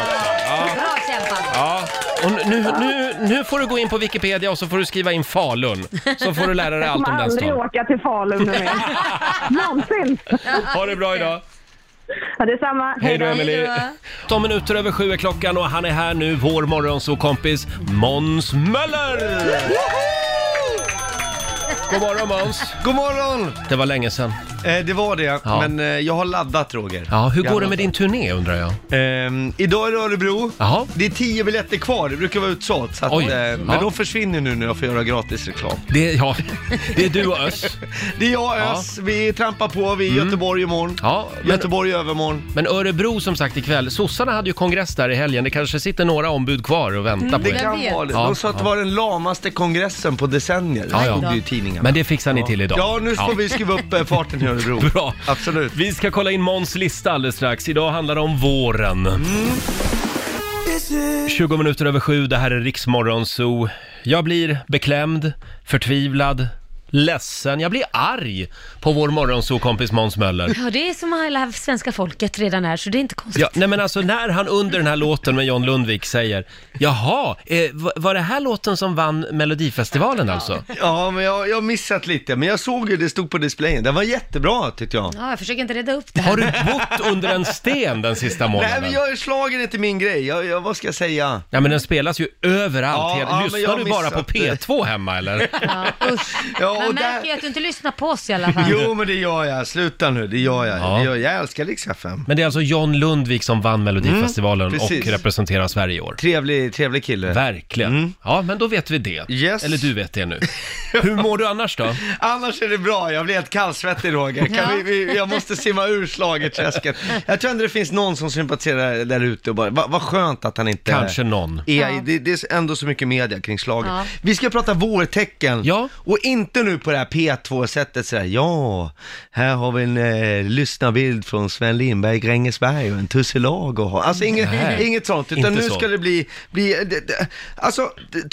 Speaker 1: Ja.
Speaker 2: Bra kämpat.
Speaker 1: Ja, och nu, nu, nu får du gå in på Wikipedia och så får du skriva in Falun. Så får du lära dig allt om
Speaker 9: kommer
Speaker 1: den
Speaker 9: aldrig
Speaker 1: stan.
Speaker 9: åka till Falun nu mer. Någonsin.
Speaker 1: Ha det bra idag!
Speaker 9: Ja, detsamma.
Speaker 1: Hej då Emily.
Speaker 2: Hej
Speaker 1: Två minuter över sju är klockan och han är här nu, vår morgonsåkompis Måns Möller! God morgon Måns!
Speaker 10: God morgon!
Speaker 1: Det var länge sedan.
Speaker 10: Eh, det var det,
Speaker 1: Ja.
Speaker 10: men eh, jag har laddat Roger.
Speaker 1: Ja, hur
Speaker 10: Jag
Speaker 1: går det
Speaker 10: har
Speaker 1: med din turné undrar jag?
Speaker 10: Ehm, idag är det Örebro.
Speaker 1: Jaha.
Speaker 10: Det är tio biljetter kvar, det brukar vara utsålt. Så att,
Speaker 1: Oj.
Speaker 10: eh, men
Speaker 1: Ja.
Speaker 10: de försvinner nu när jag får göra gratis reklam.
Speaker 1: Det, ja, det är du och Özz.
Speaker 10: Det är jag
Speaker 1: Ja. Mm.
Speaker 10: Ös, vi trampar på, vi är i Göteborg imorgon.
Speaker 1: Ja, men-
Speaker 10: Göteborg i övermorgon.
Speaker 1: Men Örebro som sagt ikväll, sossarna hade ju kongress där i helgen. Det kanske sitter några ombud kvar och väntar på
Speaker 10: Mm, Det
Speaker 1: er.
Speaker 10: kan
Speaker 2: vet?
Speaker 10: vara det.
Speaker 1: Ja.
Speaker 10: De sa att det var den lamaste kongressen på decennier.
Speaker 1: Ja, ja.
Speaker 10: Stod det i tidningarna.
Speaker 1: Men det fixar ni till idag.
Speaker 10: Ja, nu får vi skruva upp eh, farten i Örebro.
Speaker 1: Bra.
Speaker 10: Absolut.
Speaker 1: Vi ska kolla in Måns lista alldeles strax. Idag handlar det om våren. 20 minuter över sju, det här är Riksmorgon Zoo. Jag blir beklämd, förtvivlad, ledsen, jag blir arg på vår morgonzoo-kompis Måns Möller.
Speaker 2: Ja, det är som hela svenska folket redan är, så det är inte konstigt.
Speaker 1: Ja, nej men alltså när han under den här låten med John Lundvik säger Jaha, eh, va- var det här låten som vann Melodifestivalen alltså?
Speaker 10: Ja, men jag, jag har missat lite. Men jag såg ju, det stod på displayen. Den var jättebra tyckte jag.
Speaker 2: Ja, jag försöker inte reda upp det här.
Speaker 1: Har du bott under en sten den sista
Speaker 10: Nej,
Speaker 1: månaden?
Speaker 10: men jag, schlagern är inte min grej. Jag, jag, vad ska jag säga?
Speaker 1: Ja men den spelas ju
Speaker 10: Ja,
Speaker 1: överallt.
Speaker 10: ja, men
Speaker 1: Lyssnar
Speaker 10: jag har
Speaker 1: du bara på
Speaker 10: missat det.
Speaker 1: P2 hemma eller?
Speaker 2: Ja, usch.
Speaker 10: Ja,
Speaker 2: Man
Speaker 10: och
Speaker 2: märker ju
Speaker 10: där...
Speaker 2: att du inte lyssnar på oss i alla fall.
Speaker 10: Jo, men det gör jag. Sluta nu, det gör jag.
Speaker 1: Ja.
Speaker 10: Det gör jag. jag älskar Rix FM.
Speaker 1: Men det är alltså John Lundvik som vann Melodifestivalen
Speaker 10: Mm,
Speaker 1: och
Speaker 10: precis.
Speaker 1: representerar Sverige i år.
Speaker 10: Trevlig, trevlig kille.
Speaker 1: Verkligen. Ja, men då vet vi det.
Speaker 10: Mm. Yes.
Speaker 1: Eller du vet det nu. Hur mår du annars då?
Speaker 10: Annars är det bra, jag blir helt kallsvettig Roger. Kan vi, vi, jag måste simma ur schlagerträsket. Jag tror ändå det finns någon som sympatiserar där ute och bara, va- vad skönt att han inte
Speaker 1: Kanske någon.
Speaker 10: är, det, det är ändå så mycket media kring slaget.
Speaker 2: Ja.
Speaker 10: Vi ska prata vårtecken
Speaker 1: Ja.
Speaker 10: och inte nu på det här P2-sättet sådär, ja, här har vi en eh, lyssnarbild från Sven Lindberg i Grängesberg och en tusselag och ha. Alltså inget,
Speaker 1: Nej.
Speaker 10: inget sånt, utan
Speaker 1: Inte
Speaker 10: nu
Speaker 1: så.
Speaker 10: ska det bli, bli det, det, alltså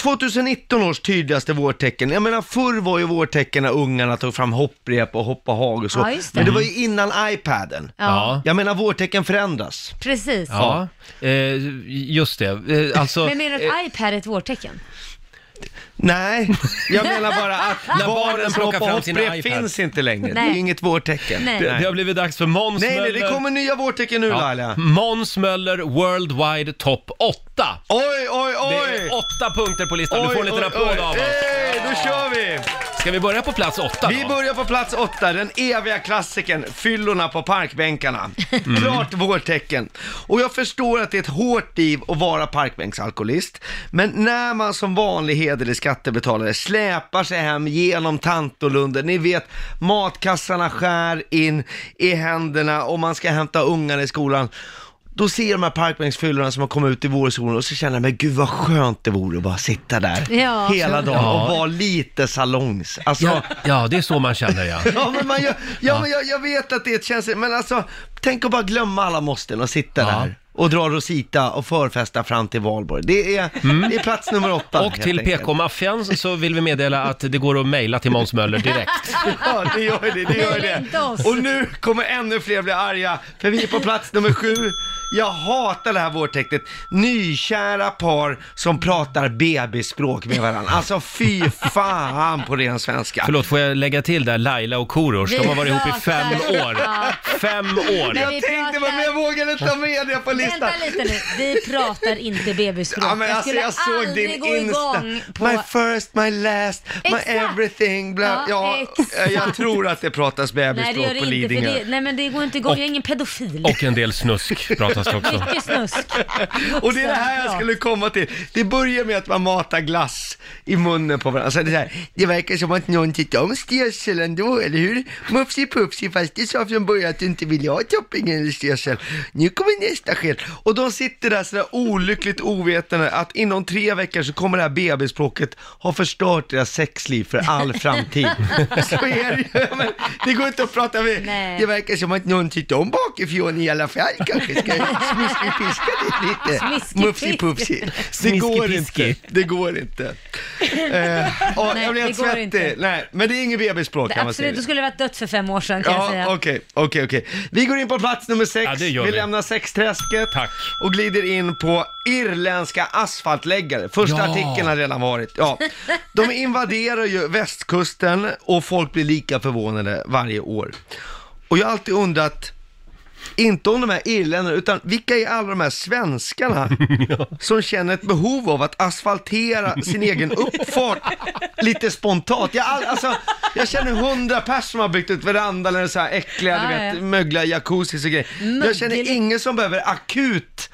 Speaker 10: 2019 års tydligaste vårtecken. Jag menar förr var ju vårtecken när ungarna tog fram hopprep och hoppa hag och så,
Speaker 2: Ja, just det.
Speaker 10: men det var ju innan iPaden.
Speaker 1: Mm. Ja.
Speaker 10: Jag menar vårtecken förändras.
Speaker 2: Precis.
Speaker 1: Ja, eh, just det. Eh, alltså,
Speaker 2: Men menar du att iPad är ett vårtecken?
Speaker 10: Nej, jag menar bara att
Speaker 1: När barnen
Speaker 10: barnen
Speaker 1: plockar
Speaker 10: plockar
Speaker 1: fram
Speaker 10: fram
Speaker 1: sina
Speaker 10: sina
Speaker 1: iPads.
Speaker 10: finns inte längre.
Speaker 2: Nej.
Speaker 10: Det är inget vårtecken.
Speaker 2: Nej.
Speaker 10: Nej.
Speaker 1: det, det har blivit dags för Måns
Speaker 10: nej,
Speaker 1: Möller.
Speaker 10: det kommer nya vårtecken nu
Speaker 1: ja. Mm.
Speaker 10: Laila.
Speaker 1: Måns Möller Worldwide Top 8.
Speaker 10: Oj, oj,
Speaker 1: Det
Speaker 10: oj!
Speaker 1: är åtta punkter på listan. Du
Speaker 10: Oj,
Speaker 1: får en liten
Speaker 10: oj,
Speaker 1: applåd
Speaker 10: oj.
Speaker 1: av oss.
Speaker 10: Hej, då kör vi!
Speaker 1: Ska vi börja på plats åtta
Speaker 10: Vi
Speaker 1: då?
Speaker 10: börjar på plats åtta, den eviga klassiken fyllorna på parkbänkarna.
Speaker 1: Mm.
Speaker 10: Klart vårtecken. Och jag förstår att det är ett hårt liv att vara parkbänksalkoholist, men när man som vanlig hederlig skattebetalare släpar sig hem genom Tantolunden, ni vet matkassarna skär in i händerna och man ska hämta ungarna i skolan. Då ser jag de här parkbänksfyllorna som har kommit ut i vårsolen och så känner jag, men gud vad skönt det vore att bara sitta där
Speaker 2: Ja.
Speaker 10: hela dagen
Speaker 1: Ja.
Speaker 10: och vara lite salongs. Alltså,
Speaker 1: Ja, ja, det är så man känner ja.
Speaker 10: Ja, men man gör, ja, men jag, jag vet att det är ett känsligt, men alltså, tänk att bara glömma alla måsten och sitta
Speaker 1: Ja.
Speaker 10: där och dra Rosita och förfesta fram till valborg. Det är, det är plats nummer åtta.
Speaker 1: Mm. Och
Speaker 10: helt
Speaker 1: till
Speaker 10: enkelt.
Speaker 1: PK-maffian så vill vi meddela att det går att mejla till Måns Möller direkt.
Speaker 10: Ja, det gör det, det gör
Speaker 2: Mejla inte oss.
Speaker 10: det. Och nu kommer ännu fler bli arga, för vi är på plats nummer sju. Jag hatar det här vårtecknet. Nykära par som pratar bebisspråk med varandra. Alltså fy fan på ren svenska.
Speaker 1: Förlåt, får jag lägga till där Laila och Korosh? De har varit ihop i fem
Speaker 2: pratar-
Speaker 1: år.
Speaker 2: Ja.
Speaker 1: Fem år!
Speaker 2: Vi
Speaker 10: Jag tänkte,
Speaker 2: pratar-
Speaker 10: men jag vågade ta med det på listan.
Speaker 2: Vänta lite nu, vi pratar inte bebisspråk.
Speaker 10: Ja, men jag, alltså,
Speaker 2: skulle
Speaker 10: jag såg
Speaker 2: aldrig
Speaker 10: din
Speaker 2: gå
Speaker 10: Insta.
Speaker 2: igång på...
Speaker 10: My first, my last,
Speaker 2: Exakt.
Speaker 10: my everything. Bla,
Speaker 2: Ja,
Speaker 10: ja,
Speaker 2: exakt.
Speaker 10: jag tror att det pratas
Speaker 2: Nej det gör
Speaker 10: bebisspråk
Speaker 2: det
Speaker 10: på
Speaker 2: inte, för
Speaker 10: Lidingö.
Speaker 2: det, nej men det går inte igång, jag är ingen pedofil.
Speaker 1: Och en del snusk pratas det också.
Speaker 2: Mycket snusk.
Speaker 10: Och det är det här jag
Speaker 2: Vuxenprat.
Speaker 10: skulle komma till. Det börjar med att man matar glass i munnen på varandra. Så det, är så här, det verkar som att någon tyckte om stersel ändå, eller hur? Mufsi Pufsi, fast du sa från början att du inte ville ha topping eller stersel. Nu kommer nästa chef helt. Och de sitter där sådär olyckligt ovetande att inom tre veckor så kommer det här bebisspråket ha förstört deras sexliv för all framtid. så är det ju. Men det går inte att prata med.
Speaker 2: Nej.
Speaker 10: Det verkar som att någon tyckte om bakifrån i alla fall. Kanske ska smiskipiska det lite.
Speaker 2: Smiskipiska.
Speaker 10: Mufsi-pufsi. Det
Speaker 1: Smiskipiski.
Speaker 10: går inte. Det går inte. Eh, åh,
Speaker 2: Nej,
Speaker 10: jag blir helt
Speaker 2: det går
Speaker 10: svettig.
Speaker 2: inte.
Speaker 10: Nej, men det är inget bebisspråk kan man säga.
Speaker 2: Absolut, du skulle ha varit dött för fem år sedan kan jag
Speaker 10: Ja,
Speaker 2: säga.
Speaker 10: okej, okej, okej. Vi går in på plats nummer sex.
Speaker 1: Ja, det
Speaker 10: vi.
Speaker 1: gör vi.
Speaker 10: lämnar sexträsket
Speaker 1: Tack.
Speaker 10: och glider in på irländska asfaltläggare. Första
Speaker 1: Ja.
Speaker 10: artikeln har redan varit. Ja. De invaderar ju västkusten och folk blir lika förvånade varje år. Och jag har alltid undrat, inte om de här irländarna, utan vilka är alla de här svenskarna som känner ett behov av att asfaltera sin egen uppfart lite spontant? Jag, all- alltså, jag känner hundra pers som har byggt ut veranda eller så här äckliga,
Speaker 2: Ja,
Speaker 10: du vet,
Speaker 2: ja.
Speaker 10: mögliga jacuzzis och grejer. Jag känner ingen som behöver akut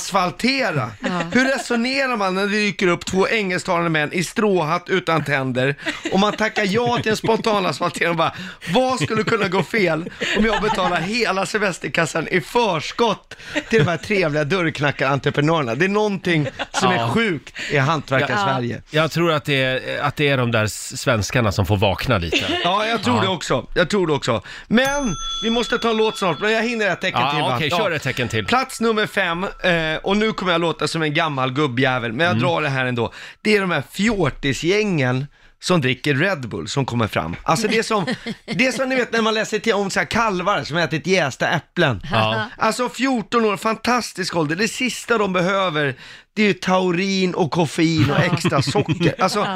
Speaker 10: asfaltera. Hur resonerar man när det dyker upp två engelsktalande män i stråhatt utan tänder och man tackar ja till en spontan asfaltering och bara, vad skulle kunna gå fel om jag betalar hela semesterkassan i förskott till de här trevliga dörrknackarentreprenörerna? Det är någonting som är sjukt i hantverkar-Sverige.
Speaker 1: Jag tror att det, är, att det är de där s- svenskarna som får vakna lite.
Speaker 10: Ja, jag tror det också. Jag tror det också. Men vi måste ta en låt snart, men jag hinner ett tecken
Speaker 1: Ja,
Speaker 10: till. va?
Speaker 1: okej, kör ett tecken till.
Speaker 10: Plats nummer fem, eh, och nu kommer jag låta som en gammal gubbjävel, men jag
Speaker 1: Mm.
Speaker 10: drar det här ändå. Det är de här fjortisgängen som dricker Red Bull som kommer fram. Alltså det är som, det är som ni vet när man läser till om så här kalvar som ätit jästa äpplen.
Speaker 1: Ja.
Speaker 10: Alltså 14 år, fantastisk ålder. Det sista de behöver, det är ju taurin och koffein och extra socker. Alltså,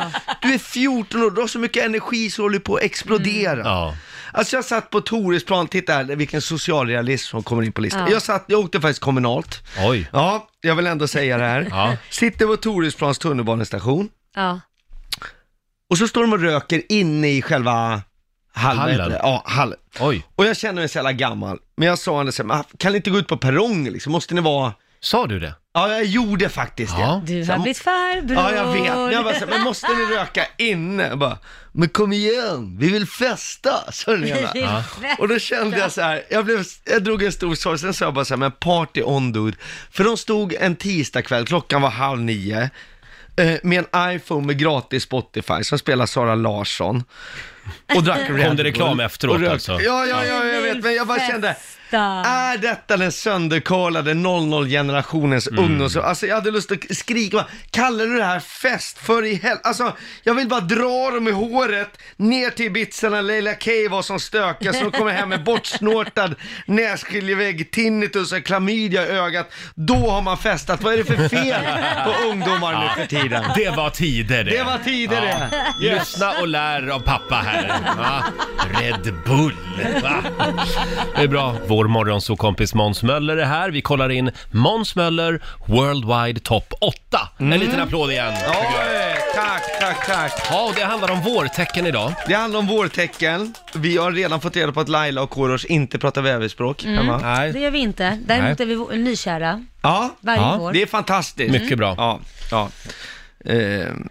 Speaker 10: du är 14 år, du har så mycket energi så du håller på att explodera.
Speaker 1: Mm. Ja.
Speaker 10: Alltså jag satt på Toresplan, titta här vilken socialrealism som kommer in på listan. Jag, satt, jag åkte faktiskt kommunalt.
Speaker 1: Oj.
Speaker 10: Ja, jag vill ändå säga det här.
Speaker 1: Ja.
Speaker 10: Sitter på Toresplans tunnelbanestation
Speaker 2: Ja.
Speaker 10: och så står de och röker inne i själva hallen.
Speaker 1: Hallen.
Speaker 10: Ja, hallen.
Speaker 1: Oj.
Speaker 10: Och jag känner mig så jävla gammal, men jag sa ändå så här, "Men kan ni inte gå ut på perrongen liksom? Måste ni vara...
Speaker 1: Sa du det?
Speaker 10: Ja, jag gjorde faktiskt det.
Speaker 1: Ja.
Speaker 2: Du
Speaker 10: Så jag
Speaker 2: har
Speaker 10: må-
Speaker 2: blivit farbror.
Speaker 10: Ja, jag vet. Men Jag bara, så här, men måste ni röka inne? Jag bara, men kom igen, vi vill festa, sa den ena. Och då kände jag så här, jag, blev, jag drog en stor sorg, sen sa jag bara så här, men party on dude. För de stod en tisdagkväll, klockan var halv nio, eh, med en iPhone med gratis Spotify som spelar Sara Larsson. Och drack Red
Speaker 1: det
Speaker 10: Bull.
Speaker 1: reklam efteråt
Speaker 10: Och rökte.
Speaker 1: alltså?
Speaker 10: Ja, ja, ja, jag vet, men jag bara kände, Ah.
Speaker 2: Festa.
Speaker 10: är detta den sönderkarlade 00-generationens ungdoms... Alltså jag hade lust att skrika bara, kallar du det här fest? För i hel... Alltså jag vill bara dra dem i håret ner till Ibiza när Leila Kay var som stökigast och kommer hem med bortsnortad nässkiljevägg, tinnitus och klamydia i ögat. Då har man festat. Vad är det för fel på ungdomar nu för tiden?
Speaker 1: Det var tider det.
Speaker 10: Det var tider det.
Speaker 1: Lyssna och lär av pappa här. Va? Red Bull. Va? Det är bra. Vår morgonsokompis Måns Möller är här. Vi kollar in Måns Möller Worldwide Top 8.
Speaker 10: Mm.
Speaker 1: En liten applåd igen.
Speaker 10: Oj, tack, tack, tack.
Speaker 1: Ja, och det handlar om vårtecken idag.
Speaker 10: Det handlar om vårtecken. Vi har redan fått reda på att Laila och Korosh inte pratar väverspråk
Speaker 2: Mm.
Speaker 10: hemma.
Speaker 1: Nej.
Speaker 2: Det gör vi inte. Däremot är vi vå- nykära
Speaker 10: Ja,
Speaker 2: varje
Speaker 1: Ja,
Speaker 2: år.
Speaker 10: det är fantastiskt.
Speaker 1: Mycket bra.
Speaker 10: Ja, ja. Ehm,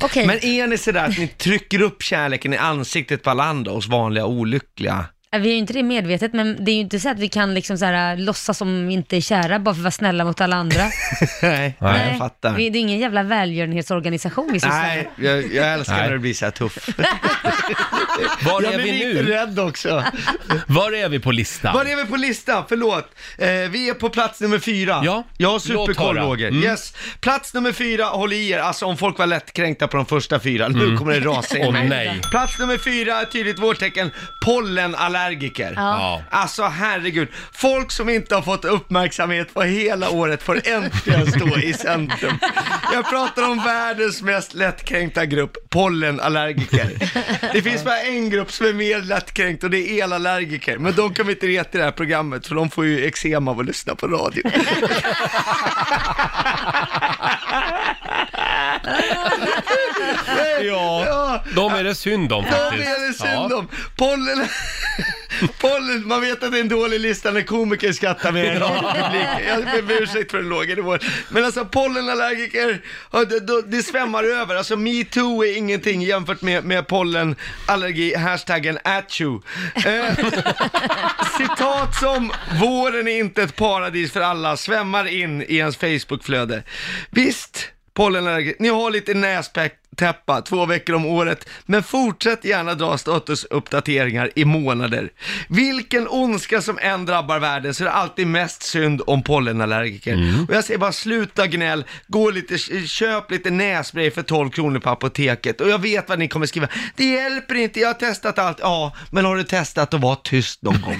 Speaker 2: Okej,
Speaker 10: Men är ni sådär att ni trycker upp kärleken i ansiktet på alla andra oss vanliga olyckliga?
Speaker 2: vi är ju inte det medvetet, men det är ju inte så att vi kan liksom så här, låtsas som vi inte är kära bara för att vara snälla mot alla andra.
Speaker 10: Nej,
Speaker 1: Nej.
Speaker 10: jag fattar.
Speaker 2: Vi, det är ingen jävla välgörenhetsorganisation vi sysslar med.
Speaker 10: Nej, jag, jag älskar
Speaker 1: Nej.
Speaker 10: när det blir så här tuff.
Speaker 1: Var
Speaker 10: jag
Speaker 1: är
Speaker 10: blir
Speaker 1: vi
Speaker 10: lite
Speaker 1: nu?
Speaker 10: rädd också.
Speaker 1: Var är vi på listan?
Speaker 10: Var är vi på listan? Förlåt. Eh, vi är på plats nummer fyra.
Speaker 1: Ja,
Speaker 10: Jag har
Speaker 1: låt
Speaker 10: superkoll
Speaker 1: höra.
Speaker 10: Roger.
Speaker 1: Mm.
Speaker 10: Yes. Plats nummer fyra, håll i er. Alltså om folk var lättkränkta på de första fyra, nu kommer det rasa in
Speaker 1: Mm. Åh,
Speaker 10: mig.
Speaker 1: nej.
Speaker 10: Plats nummer fyra, ett tydligt vårtecken, pollenallergiker.
Speaker 1: Ja.
Speaker 10: Alltså herregud, folk som inte har fått uppmärksamhet på hela året får äntligen stå i centrum. Jag pratar om världens mest lättkränkta grupp, pollenallergiker. Det finns bara en grupp som är mer lättkränkt och det är elallergiker. Men de kan vi inte reta i det här programmet för de får ju eksem av att lyssna på radio.
Speaker 1: Ja,
Speaker 10: Ja.
Speaker 1: de är det synd om
Speaker 10: De
Speaker 1: faktiskt.
Speaker 10: är det synd
Speaker 1: Ja.
Speaker 10: om. Pollen... Pollen, man vet att det är en dålig lista när komiker skrattar med en publik. Jag ber om ursäkt för den låga nivån. Men alltså pollenallergiker, ja, det, då- det svämmar över. Alltså metoo är ingenting jämfört med, med pollenallergi, hashtaggen at you. Eh, citat som “Våren är inte ett paradis för alla” svämmar in i ens Facebookflöde. Visst, pollenallergi, ni har lite nästäppa två veckor om året, men fortsätt gärna dra statusuppdateringar i månader. Vilken ondska som än drabbar världen så är det alltid mest synd om pollenallergiker.
Speaker 1: Mm.
Speaker 10: Och jag säger bara sluta gnäll, gå lite, köp lite nässpray för 12 kronor på apoteket. Och jag vet vad ni kommer skriva, det hjälper inte, jag har testat allt. Ja, men har du testat att vara tyst någon gång?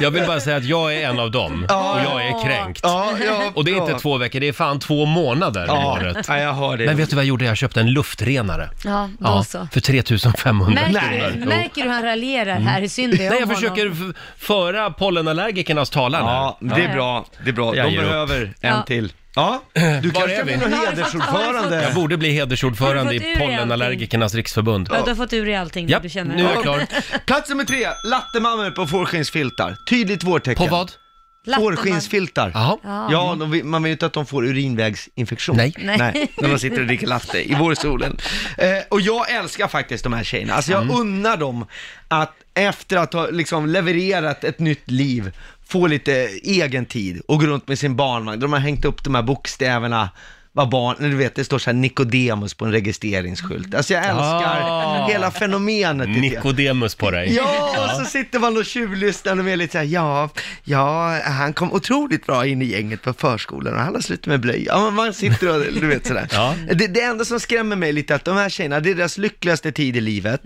Speaker 1: Jag vill bara säga att jag är en av dem och jag är kränkt.
Speaker 10: Ja, ja,
Speaker 1: Och det är
Speaker 10: bra.
Speaker 1: inte två veckor, det är fan två månader om
Speaker 10: Ja,
Speaker 1: året.
Speaker 10: ja, jag hör det.
Speaker 1: Men vet du vad jag gjorde? Jag köpte en luftrenare.
Speaker 2: Ja, då så.
Speaker 1: för 3500
Speaker 2: Märker, du-
Speaker 1: Jo.
Speaker 2: märker du hur han raljerar
Speaker 10: Mm.
Speaker 2: här? Hur synd det är
Speaker 1: Nej, jag
Speaker 2: om honom.
Speaker 1: försöker f- föra pollenallergikernas talan här.
Speaker 10: Ja, det är bra. Det är bra.
Speaker 1: Jag
Speaker 10: De
Speaker 1: ger upp.
Speaker 10: behöver en
Speaker 2: Ja.
Speaker 10: till. Ja, du kanske
Speaker 1: är vi?
Speaker 10: blir någon
Speaker 2: Har du fått-
Speaker 1: Jag
Speaker 10: hedersordförande.
Speaker 1: borde bli
Speaker 2: Har
Speaker 1: hedersordförande
Speaker 2: du fått ur
Speaker 1: i
Speaker 2: dig
Speaker 1: pollenallergikernas riksförbund.
Speaker 2: Ja, du har fått ur dig allting
Speaker 1: Ja,
Speaker 2: du känner.
Speaker 1: nu är jag klar.
Speaker 10: Plats nummer tre, lattemammor på fårskinnsfiltar. Tydligt vårtecken.
Speaker 1: På vad? Ah.
Speaker 2: Lattan-
Speaker 10: Fårskinnsfiltar.
Speaker 1: Jaha.
Speaker 10: Ja, de, vill- man vill ju inte att de får urinvägsinfektion.
Speaker 1: Nej.
Speaker 2: Nej.
Speaker 10: när man sitter och dricker latte i vårsolen. Eh, och jag älskar faktiskt de här tjejerna. Alltså jag unnar dem att efter att ha liksom levererat ett nytt liv, få lite egen tid och gå runt med sin barnvagn. De har hängt upp de här bokstäverna. Vad barn, du vet det står så här Nicodemus på en registreringsskylt. Alltså jag älskar
Speaker 1: Ah.
Speaker 10: hela fenomenet. tycker jag.
Speaker 1: Nikodemus på dig.
Speaker 10: Ja, och så sitter man och tjuvlyssnar och är lite såhär, ja, ja, han kom otroligt bra in i gänget på förskolan och han har slutat med blöja. Ja, men man sitter och, du vet sådär.
Speaker 1: Ja.
Speaker 10: Det, det enda som skrämmer mig lite är att de här tjejerna, det är deras lyckligaste tid i livet.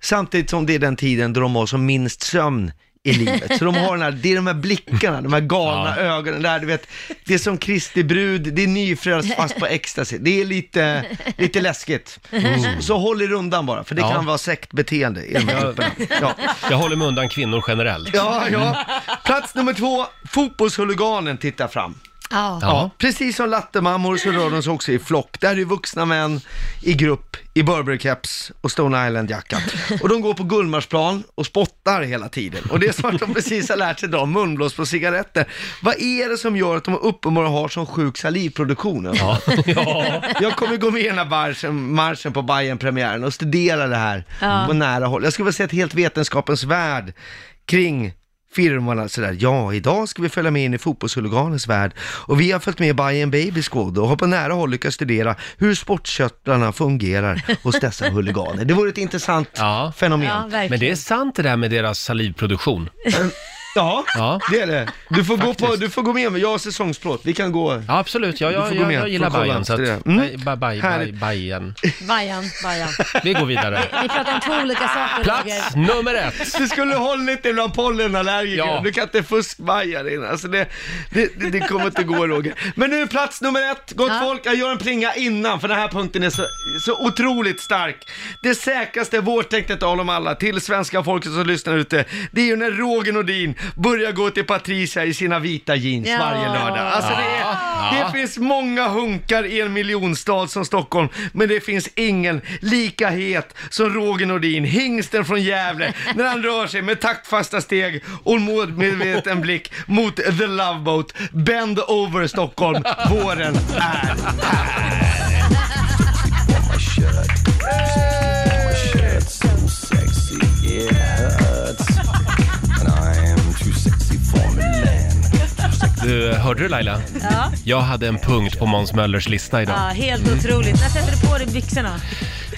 Speaker 10: Samtidigt som det är den tiden då de har som minst sömn i livet. Så de har den här, det är de här blickarna, de här galna ögonen där, du vet, det är som Kristi brud, det är nyfrälst fast på ecstasy. Det är lite, lite läskigt. Så, så håll er undan bara, för det
Speaker 1: Mm. Ja.
Speaker 10: kan vara sektbeteende i de här grupperna. Ja.
Speaker 1: Jag håller mig undan kvinnor generellt.
Speaker 10: Ja, ja. Plats nummer två, fotbollshuliganen tittar fram.
Speaker 2: Ja.
Speaker 1: Ja.
Speaker 10: Precis som lattemammor så rör de sig också i flock. Där är vuxna män i grupp i Burberry-keps och Stone Island-jacka. Och de går på Gullmarsplan och spottar hela tiden. Och det är som att de precis har lärt sig dra munblås på cigaretter. Vad är det som gör att de uppenbarligen har sån sjuk salivproduktion?
Speaker 1: Ja. ja.
Speaker 10: Jag kommer gå med i den här marschen, marschen på bayern premiären och studera det här på nära håll. Jag skulle vilja se ett helt vetenskapens värld kring firmorna sådär. Ja, idag ska vi följa med in i fotbollshuliganens värld och vi har följt med Bayern Baby Squad och har på nära håll lyckats studera hur sportköttlarna fungerar hos dessa huliganer. Det vore ett intressant
Speaker 1: Ja.
Speaker 10: fenomen.
Speaker 2: Ja,
Speaker 10: Ja,
Speaker 2: verkligen.
Speaker 1: Men det är sant det där med deras salivproduktion. Ja.
Speaker 10: det är det. Du får, gå på, du får gå med mig, jag har säsongsplåt. Vi kan gå.
Speaker 1: Ja, absolut. Ja,
Speaker 10: Du
Speaker 1: jag,
Speaker 10: får gå
Speaker 1: jag,
Speaker 10: med.
Speaker 1: jag gillar
Speaker 10: Får kolla
Speaker 1: Bajen. Så att,
Speaker 10: efter det. Mm.
Speaker 1: Nej, ba- baj, baj,
Speaker 10: Härligt.
Speaker 1: bajen.
Speaker 2: Bajan, bajan.
Speaker 1: Vi går vidare.
Speaker 2: Vi pratar om två olika saker. Roger.
Speaker 1: Plats nummer ett.
Speaker 10: Du skulle hållit dig bland pollenallergiker.
Speaker 1: Ja.
Speaker 10: Du kan inte fuskbaja dig. Alltså det, det, det, det kommer inte gå Roger. Men nu plats nummer ett. Gott folk, jag gör en plinga innan för den här punkten är så, så otroligt stark. Det säkraste vårtecknet av dem alla till svenska folket som lyssnar ute, det är ju när Roger Nordin börjar gå till Patricia i sina vita jeans
Speaker 2: Ja.
Speaker 10: varje lördag. Alltså det, är, det finns många hunkar i en miljonstad som Stockholm, men det finns ingen lika het som Roger Nordin, hingsten från Gävle, när han rör sig med taktfasta steg och målmedveten blick mot The Love Boat. Bend over Stockholm, våren är
Speaker 1: Du, hörde du Laila?
Speaker 2: Ja.
Speaker 1: Jag hade en punkt på Måns Möllers lista
Speaker 2: Ja,
Speaker 1: idag.
Speaker 2: helt otroligt. När sätter du på dig byxorna?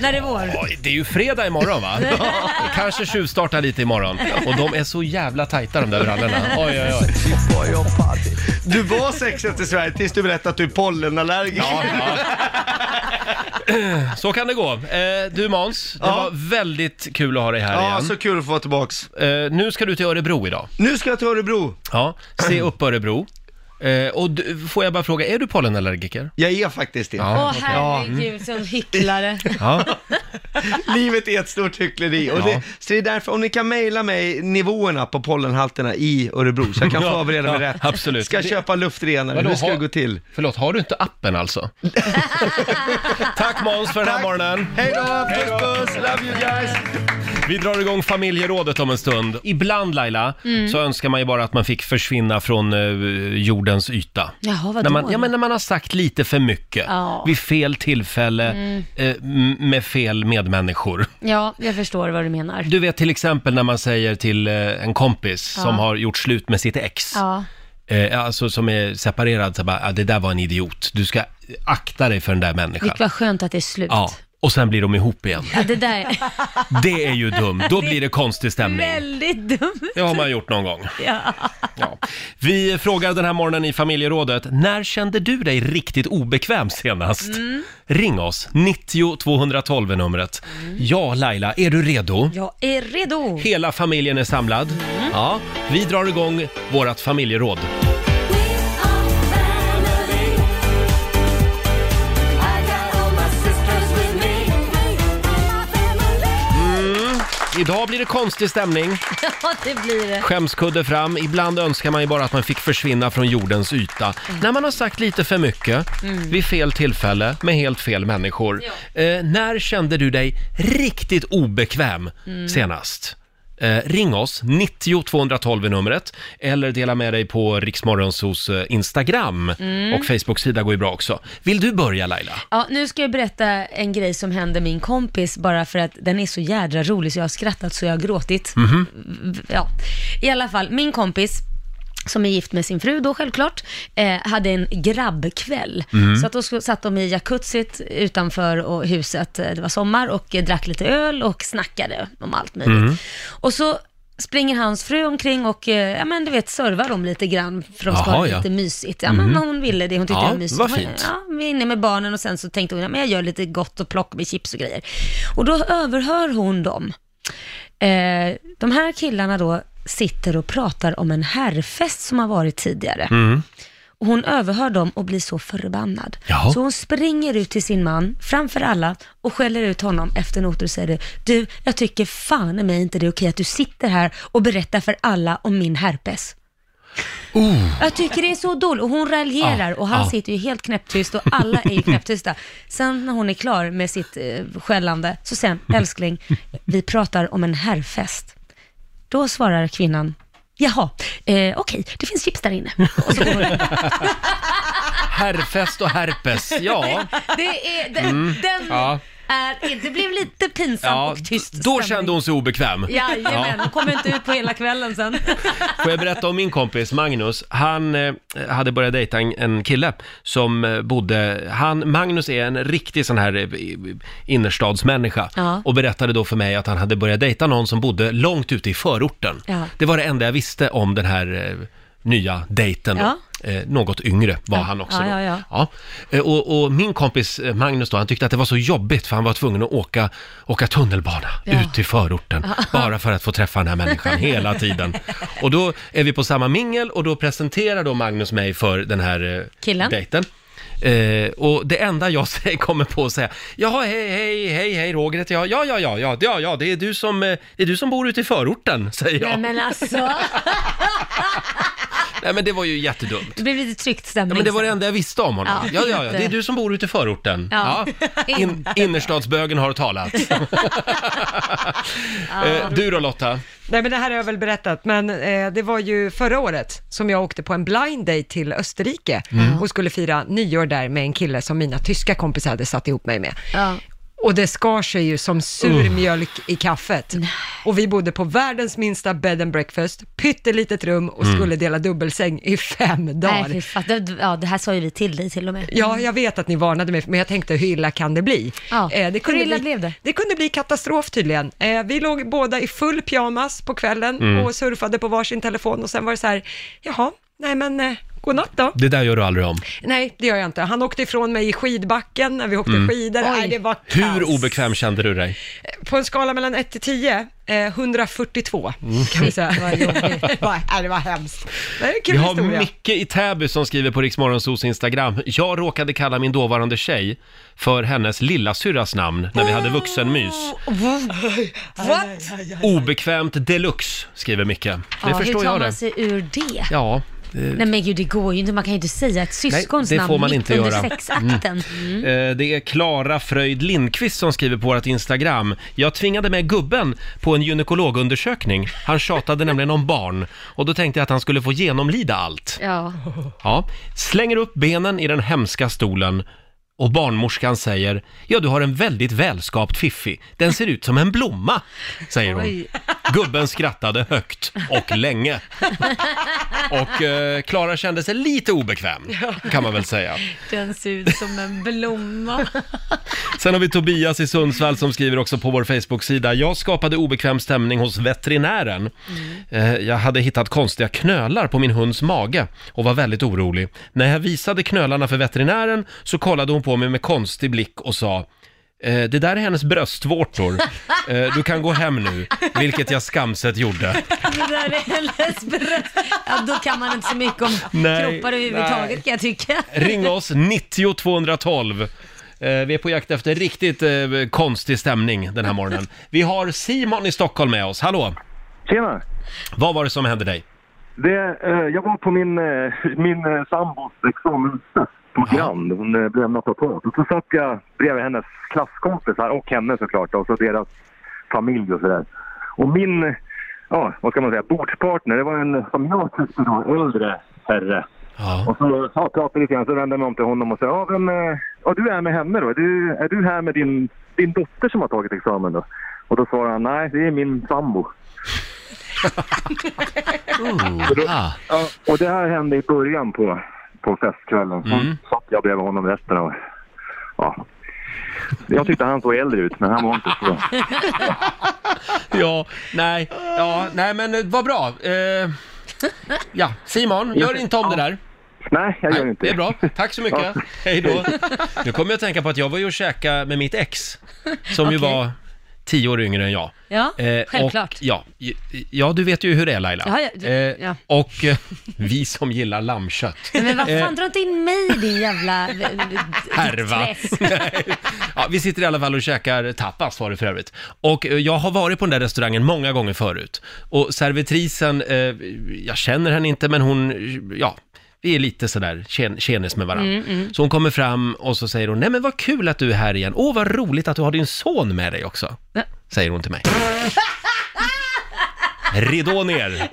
Speaker 2: När det är vår?
Speaker 1: Oj, Det är ju fredag imorgon va? Kanske tjuvstartar lite imorgon. Och de är så jävla tajta de där brallorna. Oj, oj, oj.
Speaker 10: Du var sexigast i Sverige tills du berättade att du är pollenallergiker.
Speaker 1: Ja, ja. Så kan det gå. Eh, du Måns, det
Speaker 10: Ja.
Speaker 1: var väldigt kul att ha dig här
Speaker 10: Ja,
Speaker 1: igen.
Speaker 10: så kul att få vara tillbaks.
Speaker 1: Eh, nu ska du till Örebro idag.
Speaker 10: Nu ska jag till Örebro.
Speaker 1: Ja, se
Speaker 10: Mm.
Speaker 1: upp Örebro. Eh, och du, får jag bara fråga, är du pollenallergiker?
Speaker 10: Jag är faktiskt det.
Speaker 1: Ja. mm.
Speaker 2: Åh herregud, som hycklare.
Speaker 1: Ja.
Speaker 10: Livet är ett stort hyckleri. Och det, så det är därför, om ni kan mejla mig nivåerna på pollenhalterna i Örebro så jag kan
Speaker 1: Ja,
Speaker 10: förbereda mig
Speaker 1: ja,
Speaker 10: rätt.
Speaker 1: absolut.
Speaker 10: Ska jag
Speaker 1: Det-
Speaker 10: köpa luftrenare?
Speaker 1: Vadå,
Speaker 10: Hur ska
Speaker 1: har-
Speaker 10: det gå till?
Speaker 1: Förlåt, har du inte appen alltså? Tack Måns för den här morgonen.
Speaker 10: Hej då! Puss puss! Love you guys!
Speaker 1: Vi drar igång familjerådet om en stund. Ibland Laila,
Speaker 2: Mm.
Speaker 1: så önskar man ju bara att man fick försvinna från eh, jordens yta.
Speaker 2: Jaha, vadå
Speaker 1: när man,
Speaker 2: då?
Speaker 1: ja, men när man har sagt lite för mycket,
Speaker 2: Ja. Mm.
Speaker 1: vid fel tillfälle, eh, m- med fel medmänniskor.
Speaker 2: Ja, jag förstår vad du menar.
Speaker 1: Du vet till exempel när man säger till eh, en kompis som har gjort slut med sitt ex,
Speaker 2: Ja.
Speaker 1: eh, alltså som är separerad, så bara, ah, det där var en idiot, du ska eh, akta dig för den där människan.
Speaker 2: Vilket var skönt att det är slut.
Speaker 1: Ja, och sen blir de ihop igen.
Speaker 2: Ja, det där
Speaker 1: Det är ju dumt, då blir det konstig
Speaker 2: är
Speaker 1: stämning.
Speaker 2: väldigt dumt.
Speaker 1: Det har man gjort någon gång.
Speaker 2: Ja.
Speaker 1: Ja. Vi frågar den här morgonen i familjerådet, när kände du dig riktigt obekväm senast? Ring oss, 90 212 är numret. Ja, Laila, är du redo?
Speaker 2: Jag är redo.
Speaker 1: Hela familjen är samlad. Ja, vi drar igång vårt familjeråd. Idag blir det konstig stämning.
Speaker 2: Ja, det blir det.
Speaker 1: Skämskudde fram. Ibland önskar man ju bara att man fick försvinna från jordens yta. När man har sagt lite för mycket, vid fel tillfälle, med helt fel människor. Eh, när kände du dig riktigt obekväm senast? Eh, ring oss, 90 212 är numret, eller dela med dig på Riksmorgonsos eh, Instagram och Facebook-sida går ju bra också. Vill du börja Laila?
Speaker 2: Ja, nu ska jag berätta en grej som hände min kompis bara för att den är så jädra rolig så jag har skrattat så jag har gråtit.
Speaker 1: Mhm.
Speaker 2: V- Ja. I alla fall, min kompis som är gift med sin fru då självklart, eh, hade en grabbkväll.
Speaker 1: Mhm.
Speaker 2: Så att då sk- satt de i jacuzzit utanför och huset, eh, det var sommar, och eh, drack lite öl och snackade om allt möjligt.
Speaker 1: Mhm.
Speaker 2: Och så springer hans fru omkring och, eh, ja men du vet, servar dem lite grann för de ska
Speaker 1: Jaha,
Speaker 2: ha det
Speaker 1: ja. Mhm.
Speaker 2: lite mysigt. Ja men hon ville det, hon tyckte
Speaker 1: Ja,
Speaker 2: det var mysigt.
Speaker 1: vad
Speaker 2: Hon-
Speaker 1: fint.
Speaker 2: Ja, vi är inne med barnen och sen så tänkte hon, ja, men jag gör lite gott och plock med chips och grejer. Och då överhör hon dem. Eh, de här killarna då sitter och pratar om en herrfest som har varit tidigare.
Speaker 1: Mm.
Speaker 2: Och hon överhör dem och blir så förbannad.
Speaker 1: Jaha.
Speaker 2: Så hon springer ut till sin man framför alla och skäller ut honom efter noter och säger det. Du, jag tycker fan i mig inte det är okej att du sitter här och berättar för alla om min herpes. Jag tycker det är så dåligt. Och hon raljerar
Speaker 1: Oh. Ja,
Speaker 2: och han
Speaker 1: ja.
Speaker 2: sitter ju helt knäpptyst och alla är ju knäpptysta. Sen när hon är klar med sitt eh, skällande så säger han, älskling, vi pratar om en herrfest. Då svarar kvinnan, jaha, eh, okej, det finns chips där inne. Och så går hon.
Speaker 1: Herrfest och herpes, ja.
Speaker 2: Det är, den, den
Speaker 1: Mm. Ja.
Speaker 2: är, det blev lite pinsamt
Speaker 1: ja
Speaker 2: och tyst
Speaker 1: då kände hon sig obekväm.
Speaker 2: Jajamän, hon kom inte ut på hela kvällen sen.
Speaker 1: Får jag berätta om min kompis Magnus? Han eh, hade börjat dejta en, en kille som eh, bodde... Han, Magnus är en riktig sån här eh, i- innerstadsmänniska
Speaker 2: Ja.
Speaker 1: och berättade då för mig att han hade börjat dejta någon som bodde långt ute i förorten.
Speaker 2: Ja.
Speaker 1: Det var det enda jag visste om den här eh, nya dejten. då.
Speaker 2: Ja.
Speaker 1: Eh, något yngre var han också
Speaker 2: Ja,
Speaker 1: då.
Speaker 2: ja, ja.
Speaker 1: Eh, och, och min kompis eh, Magnus då, han tyckte att det var så jobbigt för han var tvungen att åka, åka tunnelbana ut till förorten bara för att få träffa den här människan hela tiden. Och då är vi på samma mingel och då presenterar då Magnus mig för den här eh,
Speaker 2: Killen.
Speaker 1: dejten. Eh, och det enda jag säger- kommer på att säga, jaha hej hej hej hej Roger heter jag, ja ja ja ja ja, ja det är du som, eh, det är du som bor ute i förorten säger jag.
Speaker 2: Nej men alltså,
Speaker 1: Nej men det var ju jättedumt.
Speaker 2: det blev lite tryckt
Speaker 1: Ja,
Speaker 2: stämning.
Speaker 1: men det var det
Speaker 2: sen.
Speaker 1: enda jag visste om honom.
Speaker 2: Ja,
Speaker 1: Ja, ja, ja.
Speaker 2: inte.
Speaker 1: Det är du som bor ute i förorten. Ja.
Speaker 2: Ja.
Speaker 1: In, innerstadsbögen har talat. Eh, du då Lotta?
Speaker 3: Nej men det här har jag väl berättat, men eh, det var ju förra året som jag åkte på en blind date till Österrike
Speaker 2: Mm.
Speaker 3: och skulle fira nyår där med en kille som mina tyska kompisar hade satt ihop mig med.
Speaker 2: Ja.
Speaker 3: Och det skar sig ju som sur mjölk i kaffet. Och vi bodde på världens minsta bed and breakfast, pyttelitet rum och skulle dela dubbelsäng i fem dagar.
Speaker 2: Mm. Nej, fy fan. Det- Ja, det här sa ju vi till dig till och med.
Speaker 3: Ja, jag vet att ni varnade mig, men jag tänkte hur illa kan det bli?
Speaker 2: Mm. Ja, hur
Speaker 3: kunde
Speaker 2: illa
Speaker 3: bli,
Speaker 2: blev det?
Speaker 3: Det kunde bli katastrof tydligen. Eh, vi låg båda i full
Speaker 1: Mm.
Speaker 3: pyjamas på kvällen och surfade på varsin telefon och sen var det så här, jaha, nej men eh, Godnatt då.
Speaker 1: Det där gör du aldrig om.
Speaker 3: Nej, det gör jag inte. Han åkte ifrån mig i skidbacken när vi åkte skidor. Nej, det var
Speaker 1: Mm. Hur
Speaker 3: kaos.
Speaker 1: obekväm kände du dig?
Speaker 3: På en skala mellan 1 till 10, eh, 142
Speaker 1: Mm.
Speaker 3: kan vi säga. Vad det, var, nej, det var hemskt. Det är en kul
Speaker 1: Vi har
Speaker 3: historia.
Speaker 1: Micke i Täby som skriver på Riksmorgonsos Instagram. Jag råkade kalla min dåvarande tjej för hennes lillasyrras namn när vi hade
Speaker 2: Oh!
Speaker 1: vuxenmys.
Speaker 5: What?
Speaker 1: Obekvämt deluxe, skriver Micke. Det
Speaker 2: Ja, hur
Speaker 1: förstår
Speaker 2: tar
Speaker 1: jag
Speaker 2: man
Speaker 1: det.
Speaker 2: sig ur det?
Speaker 1: Ja,
Speaker 2: Nej men gud, det går ju inte. Man kan ju inte säga ett syskons
Speaker 1: det
Speaker 2: namn
Speaker 1: får man
Speaker 2: mitt
Speaker 1: inte
Speaker 2: under
Speaker 1: göra.
Speaker 2: sexakten. Mm.
Speaker 1: Eh, Det är Klara Fröjd Lindqvist som skriver på vårt Instagram. Jag tvingade med gubben på en gynekologundersökning. Han tjatade nämligen om barn och då tänkte jag att han skulle få genomlida allt.
Speaker 2: Ja.
Speaker 1: Ja, slänger upp benen i den hemska stolen och barnmorskan säger Ja, du har en väldigt välskapt fiffi. Den ser ut som en blomma, säger hon. Gubben skrattade högt och länge. Och eh, Klara kände sig lite obekväm, kan man väl säga.
Speaker 2: Den ser ut som en blomma.
Speaker 1: Sen har vi Tobias i Sundsvall som skriver också på vår Facebook-sida. Jag skapade obekväm stämning hos veterinären. Eh, Jag hade hittat konstiga knölar på min hunds mage och var väldigt orolig. När jag visade knölarna för veterinären så kollade hon på mig med konstig blick och sa "Eh, det där är hennes bröstvårtor. Eh, Du kan gå hem nu, vilket jag skamset gjorde.
Speaker 2: Det där är hennes bröst. Ja, då kan man inte så mycket om
Speaker 1: Nej,
Speaker 2: kroppar överhuvudtaget kan jag tycka.
Speaker 1: Ring oss, 90 212. Eh, Vi är på jakt efter riktigt eh, konstig stämning den här morgonen. Vi har Simon i Stockholm med oss. Hallå!
Speaker 11: Tjena!
Speaker 1: Vad var det som hände dig?
Speaker 11: Det, eh, jag var på min, eh, min eh, sambos examensfest på Grand. Hon eh, blev naprapat. Och så satt jag bredvid hennes klasskompisar och henne såklart och så deras familj och sådär. Och min, eh, ja vad ska man säga, bordspartner det var en, eh, som jag tyckte då, äldre herre.
Speaker 1: Ja.
Speaker 11: Och så ja, pratade vi lite grann, så vände jag mig om till honom och sa ja, vem, eh, ja du är med henne då? Är du, är du här med din, din dotter som har tagit examen då? Och då svarade han nej, det är min sambo.
Speaker 1: Ah.
Speaker 11: Ja, och det här hände i början på, på festkvällen. Sen
Speaker 1: Mm.
Speaker 11: satt jag bredvid honom resten av... Ja. Jag tyckte han såg äldre ut, men han var inte så.
Speaker 1: Ja, nej, ja, nej men eh, vad bra. Eh, ja, Simon, gör inte om det där.
Speaker 11: Nej, jag gör
Speaker 1: Nej,
Speaker 11: inte
Speaker 1: det är bra. Tack så mycket. Hej då. Nu kommer jag att tänka på att jag var ju och käkade med mitt ex, som ju
Speaker 2: Okej.
Speaker 1: var tio år yngre än jag.
Speaker 2: Ja,
Speaker 1: Eh,
Speaker 2: självklart.
Speaker 1: Och, ja, j- ja, du vet ju hur det är Laila.
Speaker 2: Ja, ja, du-
Speaker 1: Eh,
Speaker 2: ja.
Speaker 1: Och eh, vi som gillar lammkött.
Speaker 2: Men vad
Speaker 1: Eh.
Speaker 2: fan, dra inte in mig i din jävla... eh,
Speaker 1: Härva.
Speaker 2: Träsk.
Speaker 1: Nej. ja, vi sitter i alla fall och käkar tapas var det för övrigt. Och eh, jag har varit på den där restaurangen många gånger förut. Och servitrisen, eh, jag känner henne inte men hon, eh, ja. Vi är lite sådär tjen- tjenis med varandra.
Speaker 5: Mm,
Speaker 1: Så hon kommer fram och så säger hon, nej men vad kul att du är här igen. Åh vad roligt att du har din son med dig också. Säger hon till mig. Ridå ner.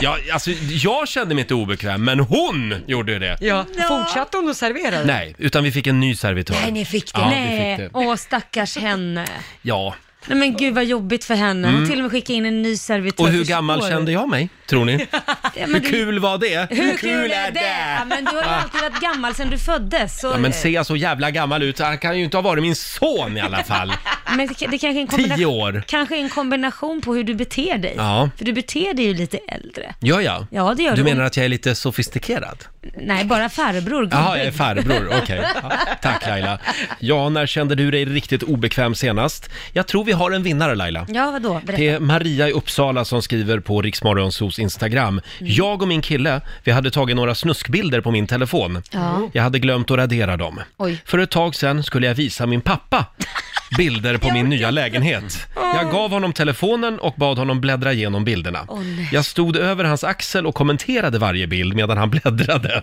Speaker 1: Ja, alltså, jag kände mig inte obekväm, men hon gjorde ju det.
Speaker 3: Ja. Fortsatte hon att servera? det?
Speaker 1: Nej, utan vi fick en ny servitör.
Speaker 5: Nej, ni fick det.
Speaker 1: Ja, vi
Speaker 2: Nej,
Speaker 1: fick det.
Speaker 2: åh stackars henne.
Speaker 1: Ja.
Speaker 2: Nej men gud vad jobbigt för henne. Hon till och med skickade in en ny servitör.
Speaker 1: Mm. Och hur gammal kände jag mig, tror ni?
Speaker 2: men
Speaker 1: Hur
Speaker 2: det-
Speaker 1: kul var det?
Speaker 2: Hur kul är det? Ja, men du har ju alltid varit gammal sedan du föddes. Så...
Speaker 1: Ja, men ser jag så jävla gammal ut? Han kan ju inte ha varit min son i alla fall.
Speaker 2: Men det, det kanske är
Speaker 1: Tio
Speaker 2: en kombination.
Speaker 1: år.
Speaker 2: Kanske är en kombination på hur du beter dig.
Speaker 1: Ja.
Speaker 2: För du beter dig ju lite äldre.
Speaker 1: Gör jag?
Speaker 2: Ja, det gör
Speaker 1: Du
Speaker 2: du.
Speaker 1: menar att jag är lite sofistikerad?
Speaker 2: Nej, bara farbror. gubbig.
Speaker 1: Jaha, jag är farbror. Okej. Ja, tack Laila. Ja, när kände du dig riktigt obekväm senast? Jag tror vi har en vinnare Laila.
Speaker 2: Ja, vadå? Berätta.
Speaker 1: Det är eh, Maria i Uppsala som skriver på Riksmorgonsos
Speaker 2: Mm.
Speaker 1: Instagram. Jag och min kille, vi hade tagit några snuskbilder på min telefon.
Speaker 2: Ja.
Speaker 1: Jag hade glömt att radera dem.
Speaker 2: Oj.
Speaker 1: För ett tag sedan skulle jag visa min pappa bilder på min nya lägenhet. Jag gav honom telefonen och bad honom bläddra igenom bilderna.
Speaker 2: nej.
Speaker 1: jag stod över hans axel och kommenterade varje bild medan han bläddrade.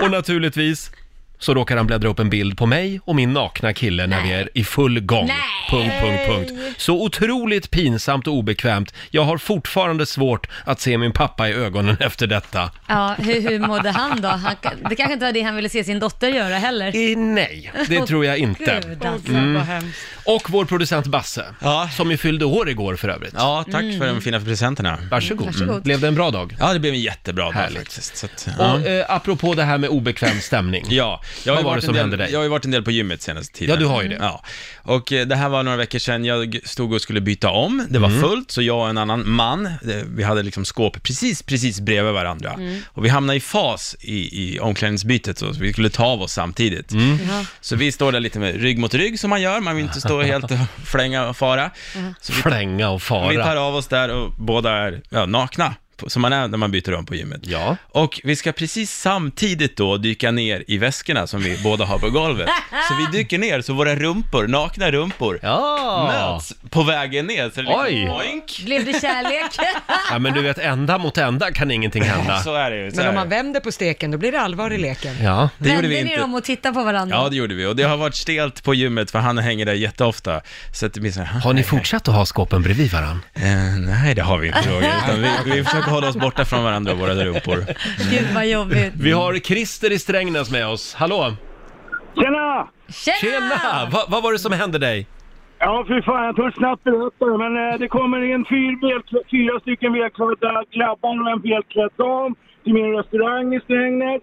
Speaker 1: och naturligtvis så råkar han bläddra upp en bild på mig och min nakna kille när vi är i full gång. Punkt, punkt, punkt. Så otroligt pinsamt och obekvämt. Jag har fortfarande svårt att se min pappa i ögonen efter detta.
Speaker 2: Ja, hur, hur mådde han då? Han, det kanske inte var det han ville se sin dotter göra heller.
Speaker 1: Eh, nej, det tror jag inte. Mm.
Speaker 2: Gud, alltså.
Speaker 3: Vad hemskt.
Speaker 1: Och vår producent Basse,
Speaker 6: Ja.
Speaker 1: som ju fyllde år igår för övrigt.
Speaker 6: Ja, tack för de fina presenterna.
Speaker 1: Varsågod.
Speaker 2: Mm, Varsågod.
Speaker 1: Blev det en bra dag?
Speaker 6: Ja, det blev en jättebra dag
Speaker 1: Härligt.
Speaker 6: faktiskt. Så att, ja.
Speaker 1: Och eh, apropå det här med obekväm stämning.
Speaker 6: ja, Jag
Speaker 1: Vad var
Speaker 6: har ju
Speaker 1: det
Speaker 6: varit en
Speaker 1: som
Speaker 6: del,
Speaker 1: hände dig?
Speaker 6: Jag har ju varit en del på gymmet senaste tiden.
Speaker 1: Ja, du har ju det.
Speaker 6: Ja. Och eh, det här var några veckor sedan, jag stod och skulle byta om, det var
Speaker 1: Mm.
Speaker 6: fullt, så jag och en annan man, eh, vi hade liksom skåp precis, precis bredvid varandra. Och vi hamnade i fas i, i omklädningsbytet, så vi skulle ta av oss samtidigt.
Speaker 1: Mm.
Speaker 6: Så vi står där lite med rygg mot rygg som man gör, man vill inte stå helt och flänga och fara. Så vi
Speaker 1: Flänga och
Speaker 6: vi tar
Speaker 1: fara.
Speaker 6: av oss där och båda är ja, nakna, på- som man är när man byter om på gymmet.
Speaker 1: Ja.
Speaker 6: Och vi ska precis samtidigt då dyka ner i väskorna som vi båda har på golvet. Så vi dyker ner, så våra rumpor, nakna rumpor,
Speaker 1: Ja.
Speaker 6: möts på vägen ner. Så det är liksom,
Speaker 1: Oj.
Speaker 6: oink.
Speaker 2: Blev det kärlek?
Speaker 1: ja, men du vet, ända mot ända kan ingenting hända.
Speaker 6: Så är det ju. Så
Speaker 3: Men om
Speaker 6: är
Speaker 3: man
Speaker 6: det.
Speaker 3: vänder på steken, då blir det allvar i leken.
Speaker 1: Ja.
Speaker 6: det gjorde vi
Speaker 2: Vände ni
Speaker 6: inte.
Speaker 2: dem och tittade på varandra?
Speaker 6: Ja, det gjorde vi. Och det har varit stelt på gymmet, för han hänger där jätteofta. Så att det blir så här,
Speaker 1: Har ni fortsatt att ha skåpen bredvid varandra?
Speaker 6: eh, nej, det har vi inte, Roger. Utan vi, vi försöker hålla oss borta från varandra och våra rumpor.
Speaker 2: Gud vad jobbigt.
Speaker 1: Vi har Christer i Strängnäs med oss. Hallå!
Speaker 11: Tjena!
Speaker 2: Tjena!
Speaker 1: Tjena! Va, vad var det som hände dig?
Speaker 11: Ja, fy fan, jag tog snabbt berätta men eh, det kommer in fyr, välklä- fyra stycken välklädda grabbar och en välklädd dam till min restaurang i Strängnäs.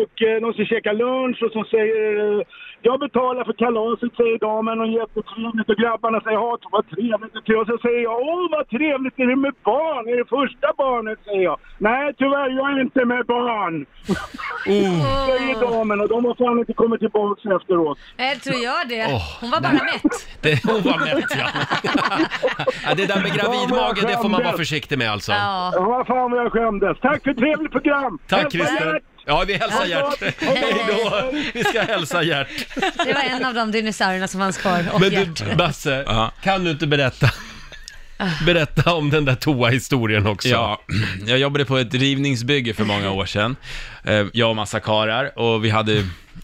Speaker 11: Och eh, de ska käka lunch och som säger eh, jag betalar för kalaset, säger damen, och jättetrevligt. Och grabbarna säger ja, vad trevligt det är. Och så säger jag, åh vad trevligt, är det med barn? Är det första barnet? säger jag. Nej, tyvärr, jag är inte med barn, säger damen. Och de har fan inte kommit tillbaks efteråt.
Speaker 2: Jag eh, tror jag det.
Speaker 1: Åh,
Speaker 2: Hon var bara mätt.
Speaker 1: Det, hon var mätt ja. ja. Det där med gravidmage, det får man vara försiktig med alltså.
Speaker 2: Ja.
Speaker 11: Ja, vad fan vad jag skämdes. Tack för ett trevligt program!
Speaker 1: Tack
Speaker 11: Hälsa
Speaker 1: Christer!
Speaker 11: Gert.
Speaker 1: Ja, vi hälsar Gert. Hej då! Vi ska hälsa Gert.
Speaker 2: Det var en av de dinosaurierna som fanns kvar. Och
Speaker 1: Men
Speaker 2: Gert.
Speaker 1: du, Basse,
Speaker 6: Ja.
Speaker 1: kan du inte berätta? Berätta om den där toa-historien också.
Speaker 6: Ja, jag jobbade på ett rivningsbygge för många år sedan. Eh, Jag och massa karar och vi hade,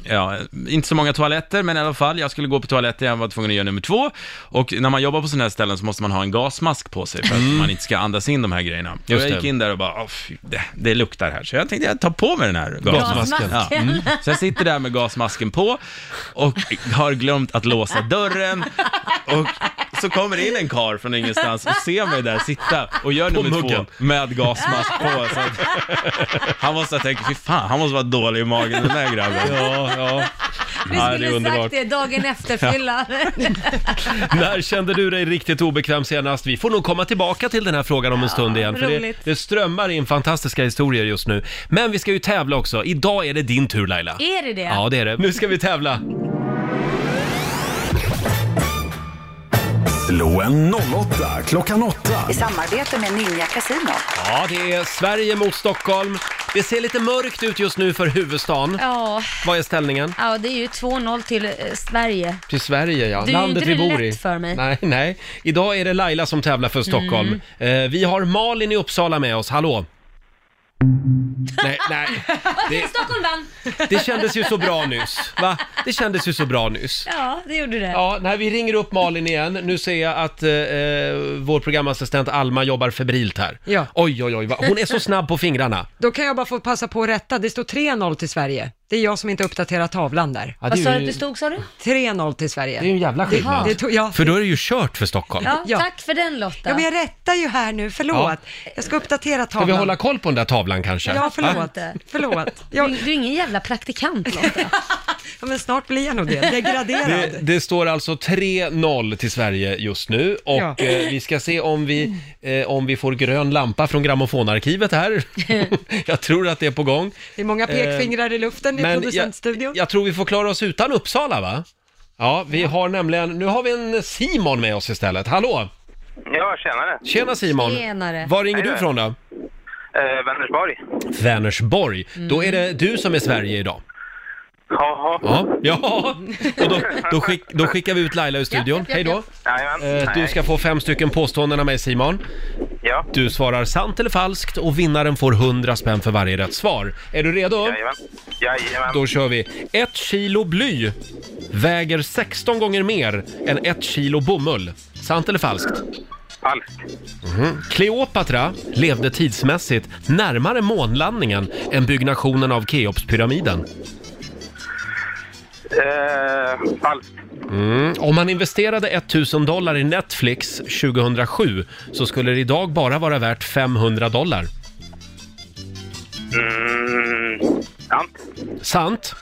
Speaker 6: ja, inte så många toaletter, men i alla fall, jag skulle gå på toaletten, jag var tvungen att göra nummer två. Och när man jobbar på sådana här ställen så måste man ha en gasmask på sig för att man inte ska andas in de här grejerna.
Speaker 1: Mm. Just
Speaker 6: och jag gick
Speaker 1: det.
Speaker 6: in där och bara, "Åh, fy, det, det luktar här. Så jag tänkte, jag tar på mig den här gasmasken.
Speaker 1: Gasmasken.
Speaker 6: Ja. Mm. Så jag sitter där med gasmasken på och har glömt att låsa dörren. Och så kommer det in en kar från ingenstans och ser mig där sitta och gör nummer
Speaker 1: muggen.
Speaker 6: två med gasmask på. Så att han måste ha tänkt, fy fan, han måste vara dålig i magen den där grabben.
Speaker 1: ja. ja.
Speaker 2: Vi
Speaker 1: Ja, det är
Speaker 2: skulle
Speaker 1: underbart.
Speaker 2: sagt det dagen efter fylla.
Speaker 1: När kände du dig riktigt obekväm senast? Vi får nog komma tillbaka till den här frågan om en stund igen. För det,
Speaker 2: roligt.
Speaker 1: det strömmar in fantastiska historier just nu. Men vi ska ju tävla också. Idag är det din tur Laila.
Speaker 2: Är det det?
Speaker 1: Ja, det är det. Nu ska vi tävla.
Speaker 7: Slå en 08 klockan 8.
Speaker 8: I samarbete med Ninja Casino.
Speaker 1: Ja, det är Sverige mot Stockholm. Det ser lite mörkt ut just nu för huvudstaden.
Speaker 2: Ja.
Speaker 1: Vad är ställningen?
Speaker 2: Ja, det är ju 2-0 till eh, Sverige.
Speaker 1: Till Sverige ja,
Speaker 2: Du gjorde
Speaker 1: landet
Speaker 2: det
Speaker 1: vi bor i.
Speaker 2: lätt för mig.
Speaker 1: Nej, nej. Idag är det Laila som tävlar för Stockholm.
Speaker 2: Mm.
Speaker 1: Eh, vi har Malin i Uppsala med oss, hallå! nej, nej. Det,
Speaker 2: Stockholm vann!
Speaker 1: det kändes ju så bra nyss, va? Det kändes ju så bra nyss.
Speaker 2: Ja, det gjorde det.
Speaker 1: Ja, när vi ringer upp Malin igen. Nu ser jag att eh, eh, vår programassistent Alma jobbar febrilt här.
Speaker 3: Ja.
Speaker 1: Oj, oj, oj. va- Hon är så snabb på fingrarna.
Speaker 3: Då kan jag bara få passa på att rätta, det står 3-0 till Sverige. Det är jag som inte uppdaterar tavlan där.
Speaker 1: Ja, det
Speaker 2: Vad sa
Speaker 1: är
Speaker 2: du att
Speaker 1: ju-
Speaker 2: du stod, sa du?
Speaker 3: 3-0 till
Speaker 1: Det är ju
Speaker 3: Sverige.
Speaker 1: en jävla skillnad.
Speaker 3: Det tog, ja,
Speaker 1: För då är det ju kört för Stockholm.
Speaker 2: Ja,
Speaker 3: Ja.
Speaker 2: tack för den Lotta.
Speaker 3: ja, men jag rättar ju här nu, förlåt. Jag ska uppdatera
Speaker 1: Ska
Speaker 3: tavlan.
Speaker 1: vi hålla koll på den där tavlan kanske?
Speaker 3: Ja,
Speaker 1: Va?
Speaker 3: förlåt.
Speaker 2: Va?
Speaker 3: Förlåt.
Speaker 2: Du,
Speaker 3: Jag,
Speaker 2: du är ingen jävla praktikant Lotta.
Speaker 3: ja, men snart blir jag nog det.
Speaker 1: Det,
Speaker 3: Degraderad.
Speaker 1: det står alltså 3-0 till Sverige just nu och
Speaker 3: Ja.
Speaker 1: eh, vi ska se om vi, eh, om vi får grön lampa från grammofonarkivet här. jag tror att det är på gång.
Speaker 3: Det är många pekfingrar i luften i
Speaker 1: jag,
Speaker 3: producentstudion.
Speaker 1: jag tror vi får klara oss utan Uppsala va? Ja, vi har nämligen, nu har vi en Simon med oss istället. Hallå!
Speaker 11: Ja, tjenare!
Speaker 1: Tjena Simon!
Speaker 2: Tjenare.
Speaker 1: Var ringer du ifrån då?
Speaker 11: Eh, Vänersborg.
Speaker 1: Vänersborg. Då är det du som är Sverige idag.
Speaker 11: Jaha.
Speaker 1: Ja, ja. och då, då, skick, då skickar vi ut Laila ur studion.
Speaker 2: Japp, japp,
Speaker 1: Hej då!
Speaker 2: japp,
Speaker 11: Jajamän.
Speaker 1: Eh, Du ska få fem stycken påståenden av mig Simon.
Speaker 11: Ja,
Speaker 1: Du svarar sant eller falskt och vinnaren får 100 spänn för varje rätt svar. Är du redo?
Speaker 11: jajamän. Jajamän.
Speaker 1: Då kör vi. Ett kilo bly väger 16 gånger mer än ett kilo bomull. Sant eller falskt?
Speaker 11: Falskt.
Speaker 1: Kleopatra levde tidsmässigt närmare månlandningen än byggnationen av Keopspyramiden.
Speaker 11: Eh, falskt.
Speaker 1: Mm. Om man investerade 1000 dollar i Netflix 2007 så skulle det idag bara vara värt 500 dollar.
Speaker 11: Mm, sant.
Speaker 1: Sant?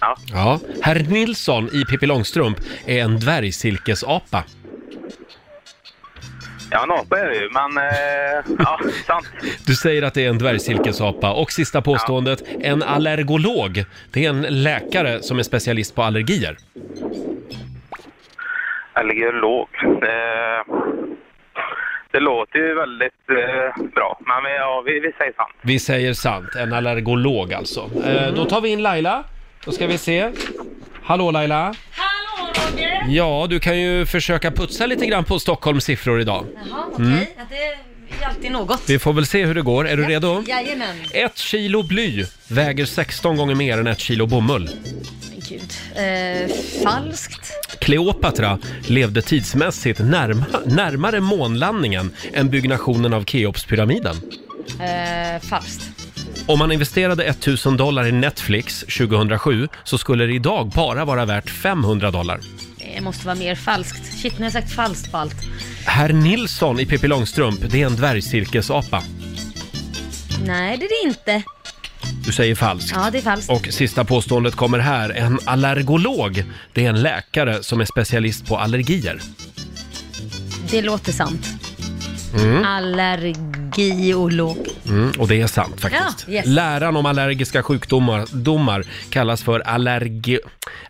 Speaker 12: Ja.
Speaker 1: Ja. Herr Nilsson i Pippi Långstrump är en dvärgsilkesapa.
Speaker 12: Ja, en apa är det ju, men eh, ja, sant.
Speaker 1: Du säger att det är en dvärgsilkesapa. Och sista påståendet, en allergolog. Det är en läkare som är specialist på allergier.
Speaker 12: Allergolog. Eh, det låter ju väldigt eh, bra, men vi, ja, vi, vi säger sant.
Speaker 1: Vi säger sant, en allergolog alltså. Eh, då tar vi in Laila. Då ska vi se. Hallå Laila!
Speaker 2: Hallå Roger!
Speaker 1: Ja, du kan ju försöka putsa lite grann på Stockholms siffror idag.
Speaker 2: Jaha, okej.
Speaker 1: Mm.
Speaker 2: Ja, det är alltid något.
Speaker 1: Vi får väl se hur det går. Är du redo?
Speaker 2: Jajamän.
Speaker 1: Ett kilo bly väger 16 gånger mer än ett kilo bomull.
Speaker 2: Men Gud. Eh, falskt.
Speaker 1: Kleopatra levde tidsmässigt närma, närmare månlandningen än byggnationen av Keopspyramiden.
Speaker 2: Eh, falskt.
Speaker 1: Om man investerade 1000 dollar i Netflix 2007 så skulle det idag bara vara värt 500 dollar.
Speaker 2: Det måste vara mer falskt. Shit, nu har jag sagt falskt på allt.
Speaker 1: Herr Nilsson i Pippi Långstrump, det är en dvärgcirkusapa.
Speaker 2: Nej, det är det inte.
Speaker 1: Du säger falskt.
Speaker 2: Ja, det är falskt.
Speaker 1: Och sista påståendet kommer här. En allergolog, det är en läkare som är specialist på allergier.
Speaker 2: Det låter sant.
Speaker 1: Mm.
Speaker 2: Allergiolog.
Speaker 1: Mm, och det är sant faktiskt.
Speaker 2: Ja, yes.
Speaker 1: Läran om allergiska sjukdomar domar kallas för allergi,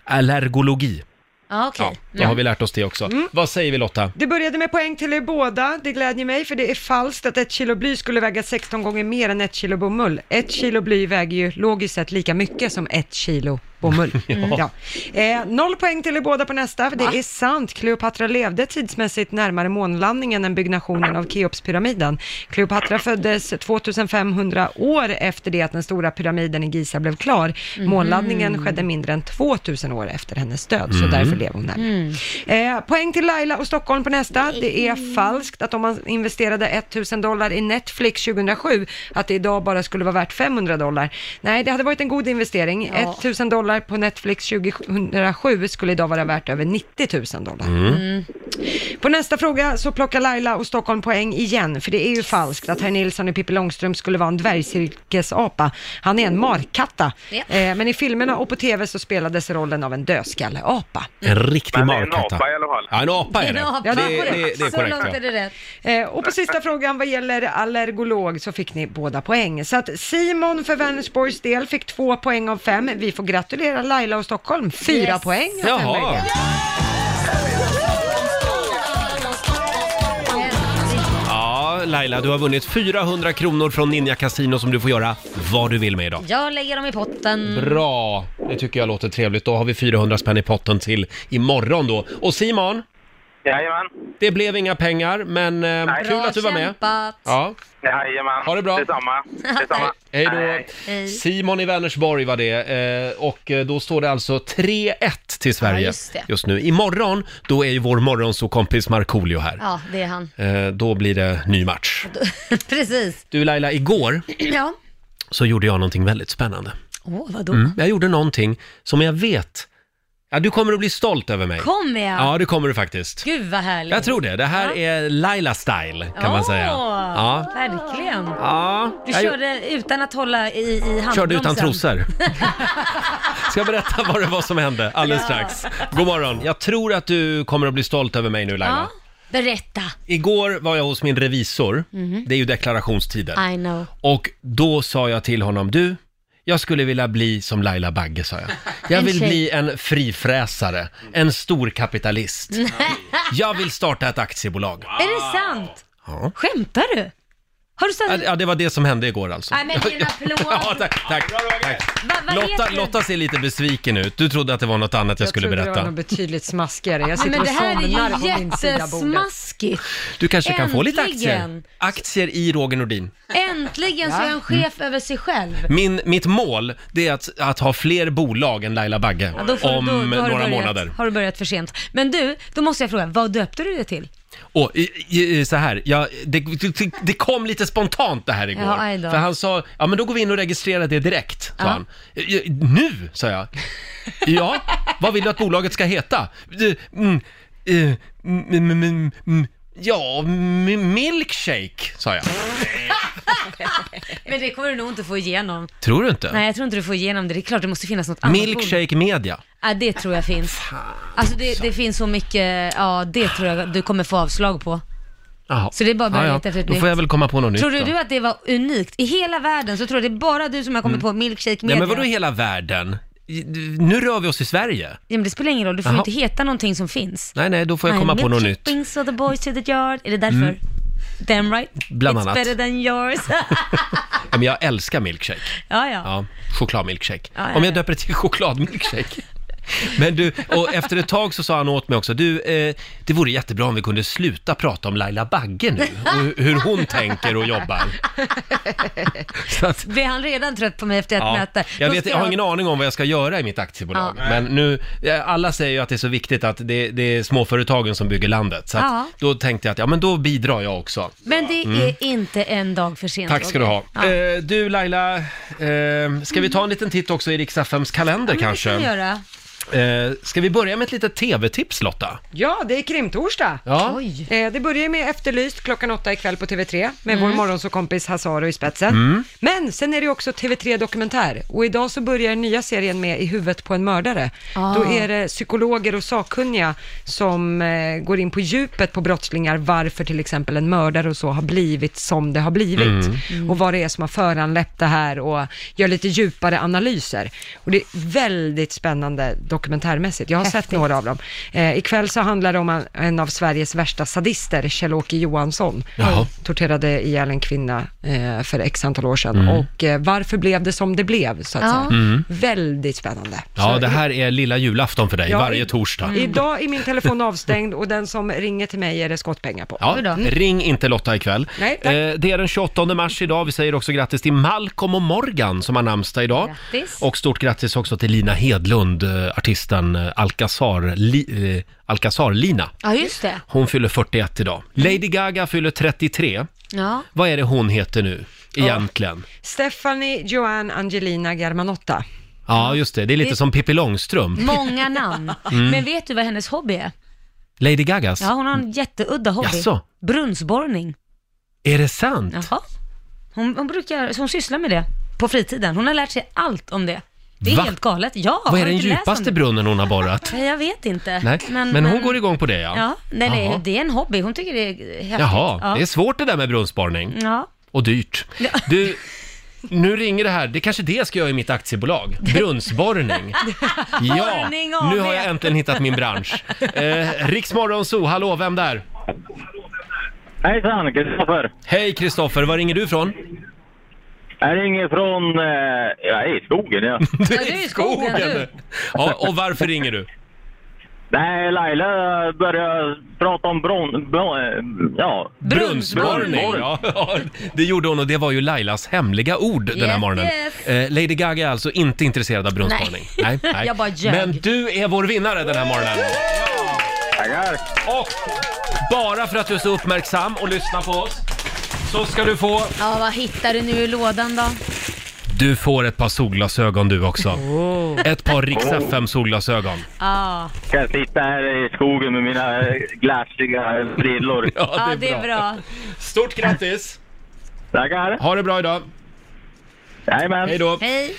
Speaker 1: allergologi.
Speaker 2: Ja, Mm. okej.
Speaker 1: Ja, då har vi lärt oss det också. Vad säger vi Lotta?
Speaker 3: Det började med poäng till er båda. Det glädjer mig, för det är falskt att ett kilo bly skulle väga 16 gånger mer än ett kilo bomull. Ett kilo bly väger ju logiskt sett lika mycket som ett kilo bomull.
Speaker 1: Ja.
Speaker 3: Eh, noll poäng till er båda på nästa, för det är sant. Kleopatra levde tidsmässigt närmare månlandningen än byggnationen av Keopspyramiden. Kleopatra föddes 2500 år efter det att den stora pyramiden i Giza blev klar. Månlandningen skedde mindre än 2000 år efter hennes död, så
Speaker 9: Mm.
Speaker 3: därför lever hon närmare. Eh, poäng till Laila och Stockholm på nästa. Det är falskt att om man investerade 1000 dollar i Netflix 2007, att det idag bara skulle vara värt 500 dollar. Nej, det hade varit en god investering.
Speaker 2: Ja.
Speaker 3: 1000 dollar på Netflix 2007 skulle idag vara värt över 90 000 dollar.
Speaker 2: Mm.
Speaker 3: På nästa fråga så plockar Laila och Stockholm poäng igen, för det är ju falskt att herr Nilsson i Pippi Långstrump skulle vara en dvärgcirkesapa. Han är en markatta.
Speaker 2: Ja.
Speaker 3: Eh, men i filmerna och på tv så spelades rollen av en dödskalleapa.
Speaker 1: En riktig
Speaker 12: Men det är en
Speaker 1: markatta.
Speaker 12: apa i alla fall.
Speaker 1: Ja, en apa är
Speaker 2: En
Speaker 1: det.
Speaker 2: apa.
Speaker 1: Ja, det,
Speaker 2: Ja,
Speaker 1: det, det är
Speaker 2: Så
Speaker 1: korrekt.
Speaker 2: långt är
Speaker 1: Ja.
Speaker 2: det rätt.
Speaker 3: Eh, och på sista frågan vad gäller allergolog så fick ni båda poäng. Så att Simon för Vänersborgs del fick två poäng av fem. Vi får gratulera Laila och Stockholm, fyra
Speaker 2: Yes.
Speaker 3: poäng av fem
Speaker 1: Jaha.
Speaker 3: möjliga.
Speaker 1: Ja, Laila, du har vunnit 400 kronor från Ninja Casino som du får göra vad du vill med idag.
Speaker 2: Jag lägger dem i potten.
Speaker 1: Bra! Det tycker jag låter trevligt. Då har vi 400 spänn i potten till imorgon då. Och Simon,
Speaker 12: Jajamän.
Speaker 1: det blev inga pengar, men eh,
Speaker 12: Nej.
Speaker 1: kul att du var med.
Speaker 2: kämpat.
Speaker 1: Ja,
Speaker 12: Jajamän.
Speaker 1: Ha det bra.
Speaker 12: Detsamma. Detsamma.
Speaker 1: hej då.
Speaker 2: Hej.
Speaker 1: Simon i Vänersborg var det eh, och eh, då står det alltså 3-1 till Sverige
Speaker 2: Ja, just det.
Speaker 1: just nu. Imorgon, då är ju vår morgonsokompis Markoolio här.
Speaker 2: Ja, det är han.
Speaker 1: Eh, då blir det ny match.
Speaker 2: Precis.
Speaker 1: Du Laila, igår
Speaker 2: Ja.
Speaker 1: så gjorde jag någonting väldigt spännande.
Speaker 2: Åh, vadå?
Speaker 1: Mm. Jag gjorde någonting som jag vet, ja du kommer att bli stolt över mig.
Speaker 2: Kommer jag?
Speaker 1: Ja, det kommer du faktiskt.
Speaker 2: Gud vad härligt.
Speaker 1: Jag tror det. Det här är Laila-style, kan man säga.
Speaker 2: Åh,
Speaker 1: Ja.
Speaker 2: Verkligen.
Speaker 1: ja.
Speaker 2: Du
Speaker 1: jag
Speaker 2: körde utan att hålla i, i handbromsen.
Speaker 1: körde utan trosor. Ska jag berätta vad det var som hände alldeles strax. God morgon. Jag tror att du kommer att bli stolt över mig nu Laila.
Speaker 2: Ja. Berätta.
Speaker 1: Igår var jag hos min revisor.
Speaker 2: Mhm.
Speaker 1: Det är ju deklarationstider.
Speaker 2: I know.
Speaker 1: Och då sa jag till honom, du, jag skulle vilja bli som Laila Bagge, sa jag. Jag
Speaker 2: En
Speaker 1: vill
Speaker 2: tjej.
Speaker 1: bli en frifräsare, en storkapitalist. Jag vill starta ett aktiebolag.
Speaker 2: Är det sant?
Speaker 1: Ja.
Speaker 2: Skämtar du? Har du sagt...
Speaker 1: Ja, det var det som hände igår alltså.
Speaker 2: Nej men en applåd.
Speaker 1: Ja, tack, tack, tack.
Speaker 2: Va, vad
Speaker 1: Lotta,
Speaker 2: heter du?
Speaker 1: Lotta ser lite besviken ut. Du trodde att det var något annat jag, skulle
Speaker 3: trodde det var
Speaker 1: berätta.
Speaker 3: något betydligt smaskigare. Jag
Speaker 2: Ja,
Speaker 3: sitter
Speaker 2: men
Speaker 3: och
Speaker 2: det här
Speaker 3: somnar
Speaker 2: är
Speaker 3: på
Speaker 2: ju
Speaker 3: min sida av bordet.
Speaker 2: jättesmaskigt.
Speaker 1: Du kanske kan få lite aktier?
Speaker 2: Äntligen.
Speaker 1: Aktier i Roger Nordin.
Speaker 2: Äntligen så är han chef över sig själv.
Speaker 1: Min, mitt mål, det är att, att ha fler bolag än Laila Bagge
Speaker 2: Ja, då får,
Speaker 1: om
Speaker 2: då, då har du
Speaker 1: några
Speaker 2: börjat,
Speaker 1: månader.
Speaker 2: Har du börjat för sent. Men du, då måste jag fråga, vad döpte du det till?
Speaker 1: Och i- i- så här, ja, det, det, det kom lite spontant det här igår.
Speaker 2: Ja, aj då.
Speaker 1: för han sa, ja men då går vi in och registrerar det direkt, sa
Speaker 2: Ja.
Speaker 1: han. "E- Nu, sa jag. Ja, vad vill du att bolaget ska heta? "E- Mm, eh, mm, mm, mm, mm, ja, m- milkshake, sa jag.
Speaker 2: Men det kommer du nog inte få igenom.
Speaker 1: Tror du inte?
Speaker 2: Nej, jag tror inte du får igenom det. Det är klart, det måste finnas något annat bord.
Speaker 1: Milkshake media.
Speaker 2: Ja, det tror jag finns. Alltså det, det finns så mycket, ja det tror jag du kommer få avslag på.
Speaker 1: Jaha.
Speaker 2: Så det är bara att börja
Speaker 1: Ja, ja.
Speaker 2: leta efter ett
Speaker 1: Då
Speaker 2: nytt.
Speaker 1: får jag väl komma på något nytt
Speaker 2: Tror du,
Speaker 1: då.
Speaker 2: du att det var unikt? I hela världen så tror jag det är bara du som har kommit på milkshake media.
Speaker 1: Mm. Nej men vadå hela världen? I- Nu rör vi oss i Sverige.
Speaker 2: Ja, men det spelar ingen roll, du får ju
Speaker 1: Jaha.
Speaker 2: inte heta någonting som finns.
Speaker 1: Nej, nej, då får jag komma på något nytt.
Speaker 2: Wings of the boys to the yard. Är det därför?
Speaker 1: Mm.
Speaker 2: Damn right.
Speaker 1: Bland
Speaker 2: It's
Speaker 1: annat.
Speaker 2: better than yours.
Speaker 1: Ja, men jag älskar milkshake.
Speaker 2: ja, ja.
Speaker 1: Ja, chokladmilkshake.
Speaker 2: Ja, ja,
Speaker 1: Om jag
Speaker 2: ja.
Speaker 1: döper det till chokladmilkshake. Men du, och efter ett tag så sa han åt mig också, du, eh, det vore jättebra om vi kunde sluta prata om Laila Bagge nu, och hu- hur hon tänker och jobbar. Så att,
Speaker 2: Blev han redan trött på mig efter ett
Speaker 1: ja,
Speaker 2: möte?
Speaker 1: jag,
Speaker 2: Då
Speaker 1: vet,
Speaker 2: ska
Speaker 1: jag har ingen aning om vad jag ska göra i mitt aktiebolag,
Speaker 2: Ja.
Speaker 1: men nu, eh, alla säger ju att det är så viktigt att det, det är småföretagen som bygger landet, så att
Speaker 2: Ja.
Speaker 1: då tänkte jag att, ja men då bidrar jag också.
Speaker 2: Men det
Speaker 1: Mm.
Speaker 2: är inte en dag för sent.
Speaker 1: Tack ska du ha.
Speaker 2: Ja.
Speaker 1: Eh, du Laila, eh, ska vi ta en liten titt också i riks FMs kalender kanske?
Speaker 2: Kan vi göra?
Speaker 1: Eh, ska vi börja med ett litet tv-tips Lotta?
Speaker 3: Ja, det är krimtorsdag.
Speaker 1: Ja.
Speaker 3: Eh, det börjar med Efterlyst klockan åtta ikväll på TV3 med
Speaker 1: Mm.
Speaker 3: vår morgonsåkompis Hasaro i spetsen.
Speaker 1: Mm.
Speaker 3: Men sen är det också TV3 Dokumentär och idag så börjar den nya serien med I huvudet på en mördare.
Speaker 2: Ah.
Speaker 3: Då är det psykologer och sakkunniga som eh, går in på djupet på brottslingar, varför till exempel en mördare och så har blivit som det har blivit
Speaker 13: Mm. Mm.
Speaker 3: och vad det är som har föranlett det här och gör lite djupare analyser. Och det är väldigt spännande dokumentärmässigt. Jag har sett några av dem. Eh, ikväll så handlar det om en- en av Sveriges värsta sadister, Kjell-Åke Johansson.
Speaker 1: Jaha.
Speaker 3: Torterade ihjäl en kvinna eh, för x antal år sedan.
Speaker 1: Mm.
Speaker 3: Och eh, varför blev det som det blev, så att
Speaker 1: Ja.
Speaker 3: säga.
Speaker 1: Mm.
Speaker 3: Väldigt spännande.
Speaker 1: Ja, det här är lilla julafton för dig,
Speaker 3: Ja,
Speaker 1: varje
Speaker 3: i-
Speaker 2: Mm.
Speaker 3: Mm.
Speaker 1: torsdag.
Speaker 3: Idag är min telefon avstängd och den som ringer till mig är det skottpengar på.
Speaker 1: Ja,
Speaker 3: Mm.
Speaker 1: ring inte Lotta ikväll.
Speaker 3: Nej, tack.
Speaker 1: Eh, det är den 28 mars idag. Vi säger också grattis till Malcolm och Morgan som har namnsdag idag.
Speaker 2: Grattis.
Speaker 1: Och stort grattis också till Lina Hedlund, eh, artisten eh, Alcazar, li, eh, Alcazar-Lina.
Speaker 2: Ja, just det.
Speaker 1: Hon fyller 41 idag.
Speaker 2: Mm.
Speaker 1: Lady Gaga fyller 33.
Speaker 2: Ja.
Speaker 1: Vad är det hon heter nu egentligen?
Speaker 3: Stephanie Joanne Angelina Germanotta.
Speaker 1: Ja, just det. Det är lite
Speaker 2: Det-
Speaker 1: som Pippi Långstrump.
Speaker 2: Många namn.
Speaker 1: Mm.
Speaker 2: Men vet du vad hennes hobby är?
Speaker 1: Lady Gagas?
Speaker 2: Ja, hon har en jätteudda hobby.
Speaker 1: Jaså?
Speaker 2: Brunnsborrning.
Speaker 1: Är det sant?
Speaker 2: Jaha. Hon, hon brukar, så hon sysslar med det på fritiden. Hon har lärt sig allt om det. Det är
Speaker 1: Va?
Speaker 2: helt galet. Ja, har
Speaker 1: Vad är
Speaker 2: du
Speaker 1: den
Speaker 2: inte läst om
Speaker 1: djupaste
Speaker 2: det?
Speaker 1: brunnen hon har borrat?
Speaker 2: Nej, jag vet inte.
Speaker 1: Nej, men, hon går igång på det ja.
Speaker 2: Ja, nej, nej,
Speaker 1: Jaha.
Speaker 2: det är en hobby. Hon tycker det är häftigt.
Speaker 1: Jaha,
Speaker 2: ja.
Speaker 1: det är svårt det där med brunnsborrning.
Speaker 2: Ja.
Speaker 1: Och dyrt. Du, nu ringer det här. Det är kanske det jag ska göra i mitt aktiebolag. Brunnsborrning. Ja,
Speaker 2: Borrning av
Speaker 1: nu har jag
Speaker 2: det.
Speaker 1: äntligen hittat min bransch. Eh, Riksmorgon Zoo, hallå, vem där?
Speaker 14: Hejsan, Kristoffer.
Speaker 1: Hej Kristoffer, var ringer du ifrån?
Speaker 14: Jag ringer från... Eh, jag är i skogen, ja.
Speaker 1: Du är i skogen du! Ja, och varför ringer du?
Speaker 14: Nej, Laila började prata om bron... bron eh, ja.
Speaker 1: Brunnsborrning!
Speaker 14: Brunnsborrning.
Speaker 1: Ja, ja, det gjorde hon och det var ju Lailas hemliga ord den här
Speaker 14: Yes,
Speaker 1: morgonen.
Speaker 14: yes.
Speaker 1: Eh, Lady Gaga är alltså inte intresserad av brunnsborrning.
Speaker 2: Nej. Jag bara ljög.
Speaker 1: Men du är vår vinnare den här morgonen! Tackar! Och bara för att du är så uppmärksam och lyssnar på oss så ska du få...
Speaker 2: Ja, vad hittar du nu i lådan då?
Speaker 1: Du får ett par solglasögon du också. Ett par Rix
Speaker 14: Oh.
Speaker 1: FM solglasögon.
Speaker 2: Ja,
Speaker 14: Kan jag sitta här i skogen med mina eh, gläsiga brillor?
Speaker 2: ja, det, är bra.
Speaker 1: Stort grattis!
Speaker 14: Tackar!
Speaker 1: Ha det bra idag!
Speaker 14: Jajamän!
Speaker 1: Hej då!
Speaker 2: Hej!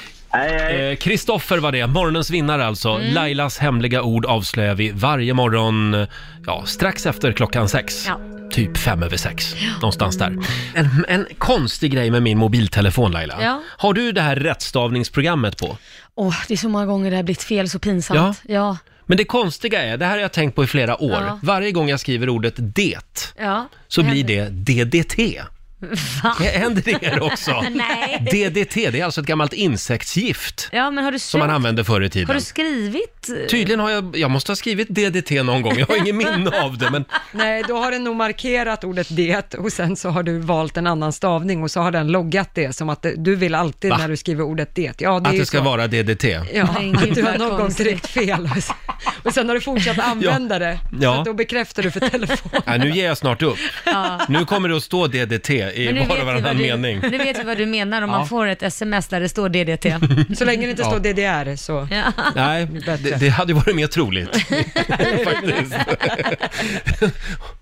Speaker 1: Eh, Kristoffer var det, morgonens vinnare alltså.
Speaker 2: Mm.
Speaker 1: Lailas hemliga ord avslöjar vi varje morgon, eh, ja, strax efter klockan sex.
Speaker 2: Ja.
Speaker 1: Typ fem över sex, någonstans där. En, en konstig grej med min mobiltelefon Laila.
Speaker 2: Ja.
Speaker 1: Har du det här rättstavningsprogrammet på?
Speaker 2: Åh, det är så många gånger det har blivit fel, så pinsamt. Ja. Ja.
Speaker 1: Men det konstiga är, det här har jag tänkt på i flera år,
Speaker 2: Ja.
Speaker 1: varje gång jag skriver ordet det
Speaker 2: ja.
Speaker 1: så blir det DDT.
Speaker 2: Va?
Speaker 1: Händer det er också?
Speaker 2: Nej.
Speaker 1: DDT, det är alltså ett gammalt insektsgift
Speaker 2: Ja, men har du
Speaker 1: som man
Speaker 2: sökt-
Speaker 1: använde förr i tiden.
Speaker 2: Har du skrivit? eh,
Speaker 1: Tydligen har jag, jag måste ha skrivit DDT någon gång, jag har ingen minne av det men
Speaker 3: Nej, då har den nog markerat ordet det och sen så har du valt en annan stavning och så har den loggat det som att det- du vill alltid
Speaker 1: Va?
Speaker 3: när du skriver ordet det. Ja, det är
Speaker 1: att
Speaker 3: ju
Speaker 1: det ska
Speaker 3: så.
Speaker 1: vara DDT.
Speaker 3: Ja,
Speaker 2: Men gud,
Speaker 3: att du har
Speaker 2: vad
Speaker 3: någon gång
Speaker 2: konstigt.
Speaker 3: tryckt fel. Och sen har du fortsatt använda det.
Speaker 1: Ja.
Speaker 3: Så att då bekräftar du för telefonen.
Speaker 1: Ja, nu ger jag snart upp.
Speaker 2: Ja.
Speaker 1: Nu kommer det att stå DDT i var och varannan
Speaker 2: vi vad
Speaker 1: mening.
Speaker 2: Du, nu vet vi vad du menar om
Speaker 1: Ja.
Speaker 2: man får ett sms där det står DDT.
Speaker 3: Så länge det inte
Speaker 1: Ja.
Speaker 3: står DDR så.
Speaker 1: Nej, det, det hade ju varit mer troligt. Faktiskt.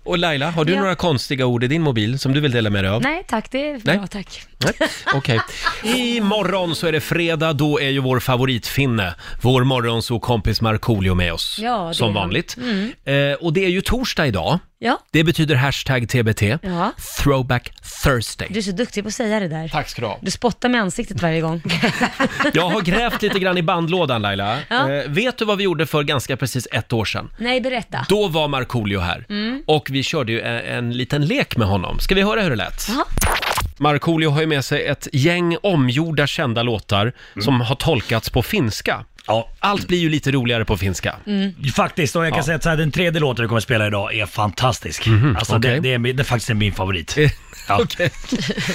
Speaker 1: och Laila, har du
Speaker 2: Ja.
Speaker 1: några konstiga ord i din mobil som du vill dela med dig av?
Speaker 2: Nej tack, det är bra
Speaker 1: Nej.
Speaker 2: tack.
Speaker 1: Nej, Okej. Imorgon så är det fredag, då är ju vår favoritfinne, vår morgonsokompis Markoolio med oss.
Speaker 2: Ja, det är
Speaker 1: som
Speaker 2: han.
Speaker 1: vanligt.
Speaker 2: Mm.
Speaker 1: Eh, och det är ju torsdag idag.
Speaker 2: Ja.
Speaker 1: Det betyder hashtag TBT.
Speaker 2: ja.
Speaker 1: Throwback Thursday.
Speaker 2: Du är så duktig på att säga det där.
Speaker 1: Tack ska du ha.
Speaker 2: Du spottar mig i ansiktet varje gång.
Speaker 1: Jag har grävt lite grann i bandlådan Laila.
Speaker 2: Ja.
Speaker 1: Eh, vet du vad vi gjorde för ganska precis ett år sedan?
Speaker 2: Nej, berätta.
Speaker 1: Då var Markoolio här.
Speaker 2: Mm.
Speaker 1: Och vi körde ju en, en liten lek med honom. Ska vi höra hur det lät?
Speaker 2: Jaha.
Speaker 1: Markoolio har ju med sig ett gäng omgjorda kända låtar som har tolkats på finska. Allt blir ju lite roligare på finska.
Speaker 2: Mm.
Speaker 13: Faktiskt, och jag kan
Speaker 1: Ja. Mhm,
Speaker 13: säga att så här, den tredje låten du kommer att spela idag är fantastisk. alltså det,
Speaker 1: okej. Eh,
Speaker 13: det, är, min- det är faktiskt min favorit. Ja.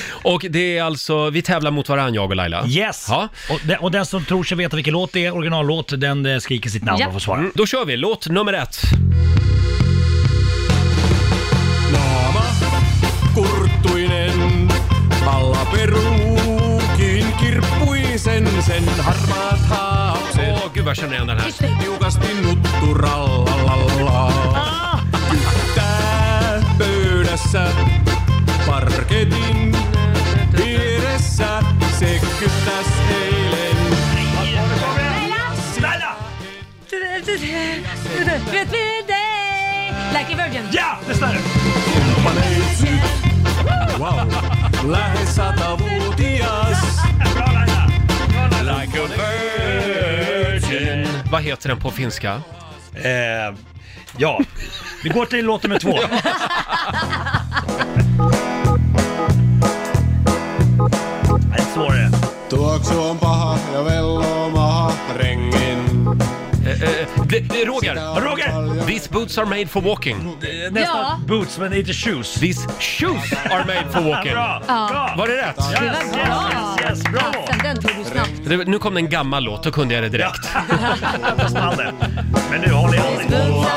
Speaker 1: Och det är alltså, vi tävlar mot varandra jag och Laila.
Speaker 13: Yes!
Speaker 1: Ja.
Speaker 13: Och, den, och den som tror sig veta vilken låt det är, originallåt, den eh, skriker sitt namn
Speaker 1: Ja.
Speaker 13: och får svara.
Speaker 1: Mm, Då kör vi, låt nummer ett.
Speaker 4: Naama kurttuinen, palla peruukin kirppuisen sen harmaat haapset.
Speaker 1: Åh, gud vad jag känner igen den här.
Speaker 4: Tiukasti nuttu rallalalla. Kyttää pöydässä, parketin vieressä, se kyttäs eilen.
Speaker 2: Vet vi dig? Like a virgin.
Speaker 13: Ja, det stämmer.
Speaker 4: Kumppaneitsy, wow, lähes satavuotias.
Speaker 1: Like a virgin. Vad heter den på finska?
Speaker 13: ja, vi går till låt nummer två. Nej, svårare.
Speaker 4: Tuoksu on paha ja velloo maha rengin.
Speaker 1: Eh, Roger! Roger! These boots are made for walking.
Speaker 13: Nästan boots, men inte shoes.
Speaker 1: These shoes are made for walking.
Speaker 13: Bra, bra.
Speaker 1: Var det rätt?
Speaker 13: Yes, yes, yes, yes, bravo!
Speaker 2: Den tog du snabbt.
Speaker 1: Det- Nu kom det en gammal låt, då kunde jag det direkt.
Speaker 13: Fast man hade. Men nu håller jag dig.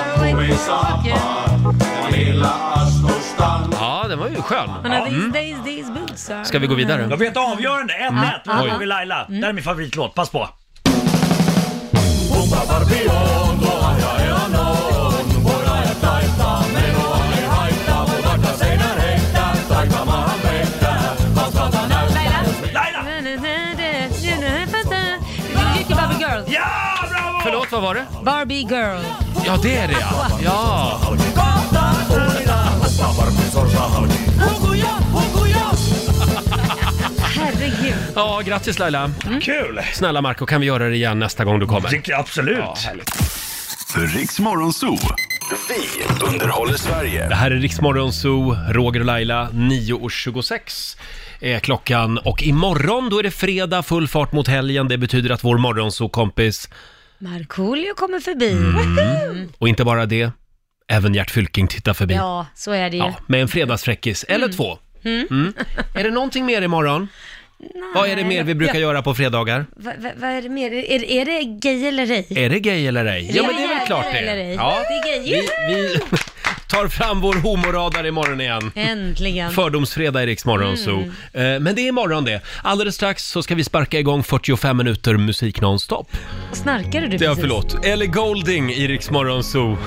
Speaker 1: Ja, den var ju skön.
Speaker 2: Man har
Speaker 1: Mm.
Speaker 2: these days, these boots are...
Speaker 1: Ska vi gå vidare? Mm.
Speaker 13: Jag vet avgörande, 1-1. Nu
Speaker 1: Oj.
Speaker 13: har vi Laila. Det här är min favoritlåt, pass på.
Speaker 2: Mycket Barbie Girl.
Speaker 13: Ja, bravo!
Speaker 1: Förlåt, vad var det?
Speaker 2: Barbie Girl.
Speaker 1: Ja, det är det ja. Ja.
Speaker 2: Herregud.
Speaker 1: Ja, grattis Laila.
Speaker 13: Kul!
Speaker 1: Snälla Marco, kan vi göra det igen nästa gång du kommer?
Speaker 13: Tycker jag Absolut.
Speaker 1: Ja, härligt.
Speaker 7: Riks Morgonzoo. Vi underhåller Sverige.
Speaker 1: Det här är Riksmorgon Zoo, Roger och Laila, 9.26 är klockan. Och imorgon då är det fredag, full fart mot helgen. Det betyder att vår morgonzoo-kompis,
Speaker 2: Markoolio kommer förbi.
Speaker 1: Mm. och inte bara det, även Gert Fylking tittar förbi.
Speaker 2: Ja, så är det ju.
Speaker 1: Ja, med en fredagsfräckis, eller två.
Speaker 2: Mm.
Speaker 1: Mm. Är det någonting mer imorgon? Vad är det mer vi brukar
Speaker 2: Ja.
Speaker 1: göra på fredagar?
Speaker 2: Va- va- Vad är det mer? Är, är det gay eller ej?
Speaker 1: Är det gay eller ej? Ja, men det är väl
Speaker 2: gay
Speaker 1: klart det
Speaker 2: eller
Speaker 1: är.
Speaker 2: ej?
Speaker 1: Ja.
Speaker 2: Det är gay.
Speaker 1: Vi, vi tar fram vår homoradar imorgon igen.
Speaker 2: Äntligen.
Speaker 1: Mm. Fördomsfredag i Rix Morgon Zoo.
Speaker 2: Mm.
Speaker 1: Eh, Men det är imorgon det. Alldeles strax så ska vi sparka igång 45 minuter musik nonstop.
Speaker 2: Snarkade du
Speaker 1: Det har
Speaker 2: precis?
Speaker 1: förlåt. Ellie Golding i Rix Morgon Zoo.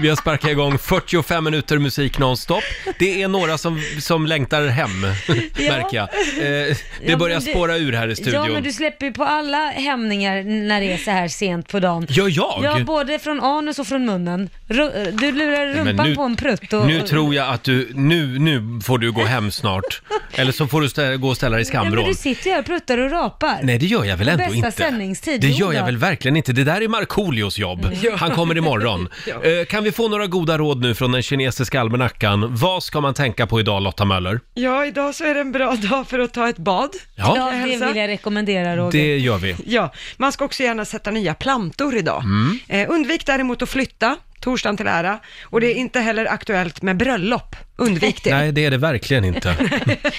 Speaker 1: Vi har sparkat igång 45 minuter musik nonstop. Det är några som, som längtar hem, märker jag. Eh,
Speaker 2: Ja,
Speaker 1: Det
Speaker 2: men
Speaker 1: börjar
Speaker 2: du-
Speaker 1: spåra ur här i
Speaker 2: Ja, men
Speaker 1: studion.
Speaker 2: du släpper ju på alla hämningar när det är så här sent på dagen.
Speaker 1: Gör jag?
Speaker 2: Ja, både från anus och från munnen. Ru- Du lurar rumpan
Speaker 1: nu-
Speaker 2: på en prutt och...
Speaker 1: Nu tror jag att du, nu, nu får du gå hem snart. Eller så får du stä- gå och ställa dig i
Speaker 2: Ja, men
Speaker 1: skamvrån.
Speaker 2: du sitter ju här och pruttar och rapar.
Speaker 1: Nej, det gör jag väl ändå
Speaker 2: Bästa
Speaker 1: inte.
Speaker 2: sändningstid,
Speaker 1: Det
Speaker 2: jo
Speaker 1: gör jag
Speaker 2: då. Mm.
Speaker 1: väl verkligen inte. Det där är Markoolios jobb.
Speaker 2: Ja.
Speaker 1: Han kommer imorgon.
Speaker 2: Ja.
Speaker 1: Eh, Kan vi få några goda råd nu från den kinesiska almanackan? Vad ska man tänka på idag, Lotta Möller?
Speaker 3: Ja, idag så är det en bra dag för att ta ett bad.
Speaker 1: Ja.
Speaker 2: Ja, det vill jag rekommendera Roger.
Speaker 1: Det gör vi.
Speaker 3: Ja, man ska också gärna sätta nya plantor idag.
Speaker 1: Mm.
Speaker 3: Eh, undvik däremot att flytta, torsdagen till ära. Och det är inte heller aktuellt med bröllop. Undvik det.
Speaker 1: Nej, det är det verkligen inte.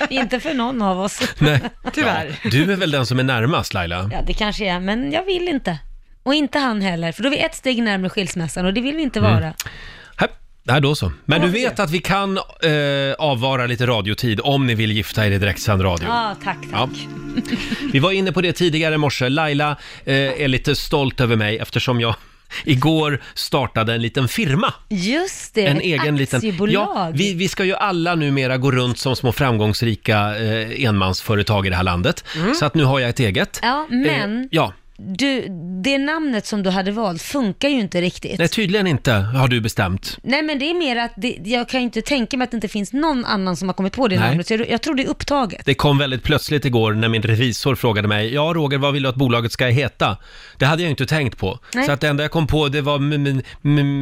Speaker 2: Inte för någon av oss.
Speaker 1: Nej.
Speaker 3: Tyvärr.
Speaker 1: Ja, du är väl den som är närmast, Laila?
Speaker 2: Ja, det kanske är, men jag vill
Speaker 1: Mm.
Speaker 2: inte. Och inte han heller, för då är vi ett steg närmare skilsmässan och det vill vi inte vara.
Speaker 1: Här. Nej, då så. Men du vet att vi kan eh, avvara lite radiotid om ni vill gifta er i direktsänd radio.
Speaker 2: Ja, tack, tack.
Speaker 1: Ja. Vi var inne på det tidigare i morse. Laila eh, är lite stolt över mig eftersom jag igår startade en liten firma.
Speaker 2: Just det,
Speaker 1: en
Speaker 2: ett
Speaker 1: egen liten...
Speaker 2: aktiebolag.
Speaker 1: Ja, vi, vi ska ju alla numera gå runt som små framgångsrika eh, enmansföretag i det här landet. Så att nu har jag ett eget.
Speaker 2: Mm. Ja, men-
Speaker 1: Eh, ja,
Speaker 2: Du, det namnet som du hade valt funkar ju inte riktigt.
Speaker 1: nej tydligen inte har du bestämt.
Speaker 2: Nej men det är mer att det, jag kan ju inte tänka mig att det inte finns någon annan som har kommit på det
Speaker 1: Nej.
Speaker 2: namnet, så jag, jag tror det är upptaget.
Speaker 1: Det kom väldigt plötsligt igår när min revisor frågade mig, ja Roger, vad vill du att bolaget ska heta? Det hade jag inte tänkt på.
Speaker 2: Nej.
Speaker 1: Så att det enda jag kom på det var m- m-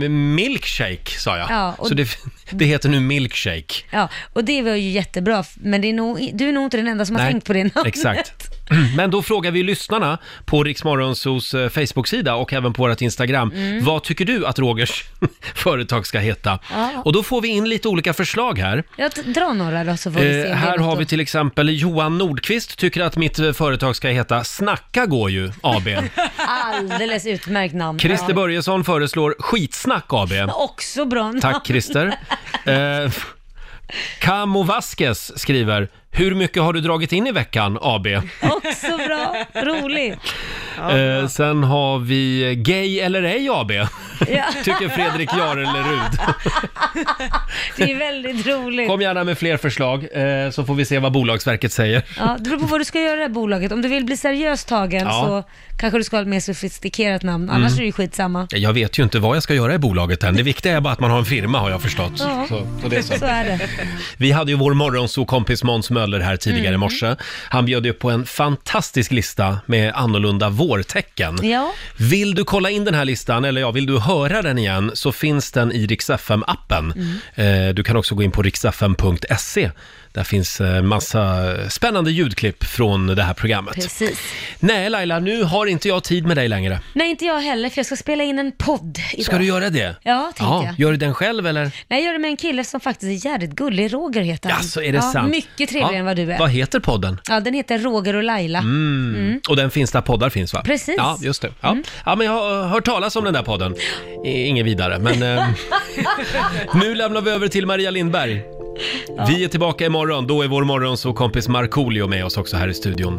Speaker 1: m- milkshake, sa jag.
Speaker 2: Ja, och-
Speaker 1: Så det, det heter nu milkshake.
Speaker 2: Ja, och det var ju jättebra, men det är nog, du är nog inte den enda som har tänkt på det namnet.
Speaker 1: Exakt. Men då frågar vi lyssnarna på Riksmorgonsos Facebook-sida och även på vårt Instagram.
Speaker 2: Mm.
Speaker 1: Vad tycker du att Rogers företag ska heta?
Speaker 2: Ja.
Speaker 1: Och då får vi in lite olika förslag här.
Speaker 2: Jag t- drar några då så får vi se.
Speaker 1: Eh,
Speaker 2: om det är
Speaker 1: här
Speaker 2: något
Speaker 1: har
Speaker 2: att-
Speaker 1: vi till exempel Johan Nordqvist tycker att mitt eh, företag ska heta Snacka går ju AB.
Speaker 2: Alldeles utmärkt namn.
Speaker 1: Christer Börjesson föreslår Skitsnack AB.
Speaker 2: Ja. Också bra namn.
Speaker 1: Tack Christer. Eh, Camo Vasquez skriver Hur mycket har du dragit in i veckan AB?
Speaker 2: Också bra. Roligt.
Speaker 1: eh, sen har vi Gay eller ej AB.
Speaker 2: Ja.
Speaker 1: Tycker Fredrik Jarlerud.
Speaker 2: Det är väldigt roligt.
Speaker 1: Kom gärna med fler förslag eh, så får vi se vad Bolagsverket säger.
Speaker 2: Ja, det beror på vad du ska göra i det här bolaget. Om du vill bli seriöst tagen
Speaker 1: Ja.
Speaker 2: så kanske du ska ha ett mer sofistikerat namn, annars
Speaker 1: Mm.
Speaker 2: är det ju skitsamma.
Speaker 1: Jag vet ju inte vad jag ska göra i bolaget än. Det viktiga är bara att man har en firma har jag förstått.
Speaker 2: Ja.
Speaker 1: Så, så det är så.
Speaker 2: Så är det.
Speaker 1: Vi hade ju vår morgonsokompis Måns Möller här tidigare i
Speaker 2: Mm.
Speaker 1: morse. Han bjöd ju på en fantastisk lista med annorlunda vårtecken.
Speaker 2: Ja.
Speaker 1: Vill du kolla in den här listan, eller ja, vill du höra den igen, så finns den i Rix FM-appen.
Speaker 2: Mm.
Speaker 1: Eh, Du kan också gå in på rixfm.se. E. Där finns eh, massa spännande ljudklipp från det här programmet.
Speaker 2: Precis.
Speaker 1: Nej, Laila, nu har inte jag tid med dig längre.
Speaker 2: Nej, inte jag heller, för jag ska spela in en podd idag.
Speaker 1: Ska du göra det?
Speaker 2: Ja, tänkte jag.
Speaker 1: Gör du den själv, eller?
Speaker 2: Nej, jag gör det med en kille som faktiskt är jävligt gullig. Roger heter han.
Speaker 1: Alltså, är det
Speaker 2: ja,
Speaker 1: sant?
Speaker 2: Mycket trevligare
Speaker 1: Ja.
Speaker 2: än vad du är.
Speaker 1: Vad heter podden?
Speaker 2: Ja, den heter Roger och Laila.
Speaker 1: Mm.
Speaker 2: Mm.
Speaker 1: Och den finns där poddar finns va?
Speaker 2: Precis. Mm.
Speaker 1: Ja, just det. Ja. ja, men jag har eh, hört talas om den där podden. I- Inget vidare, men eh, nu lämnar vi över till Maria Lindberg. Vi är tillbaka imorgon, då är vår morgonsåkompis Markoolio med oss också här i studion.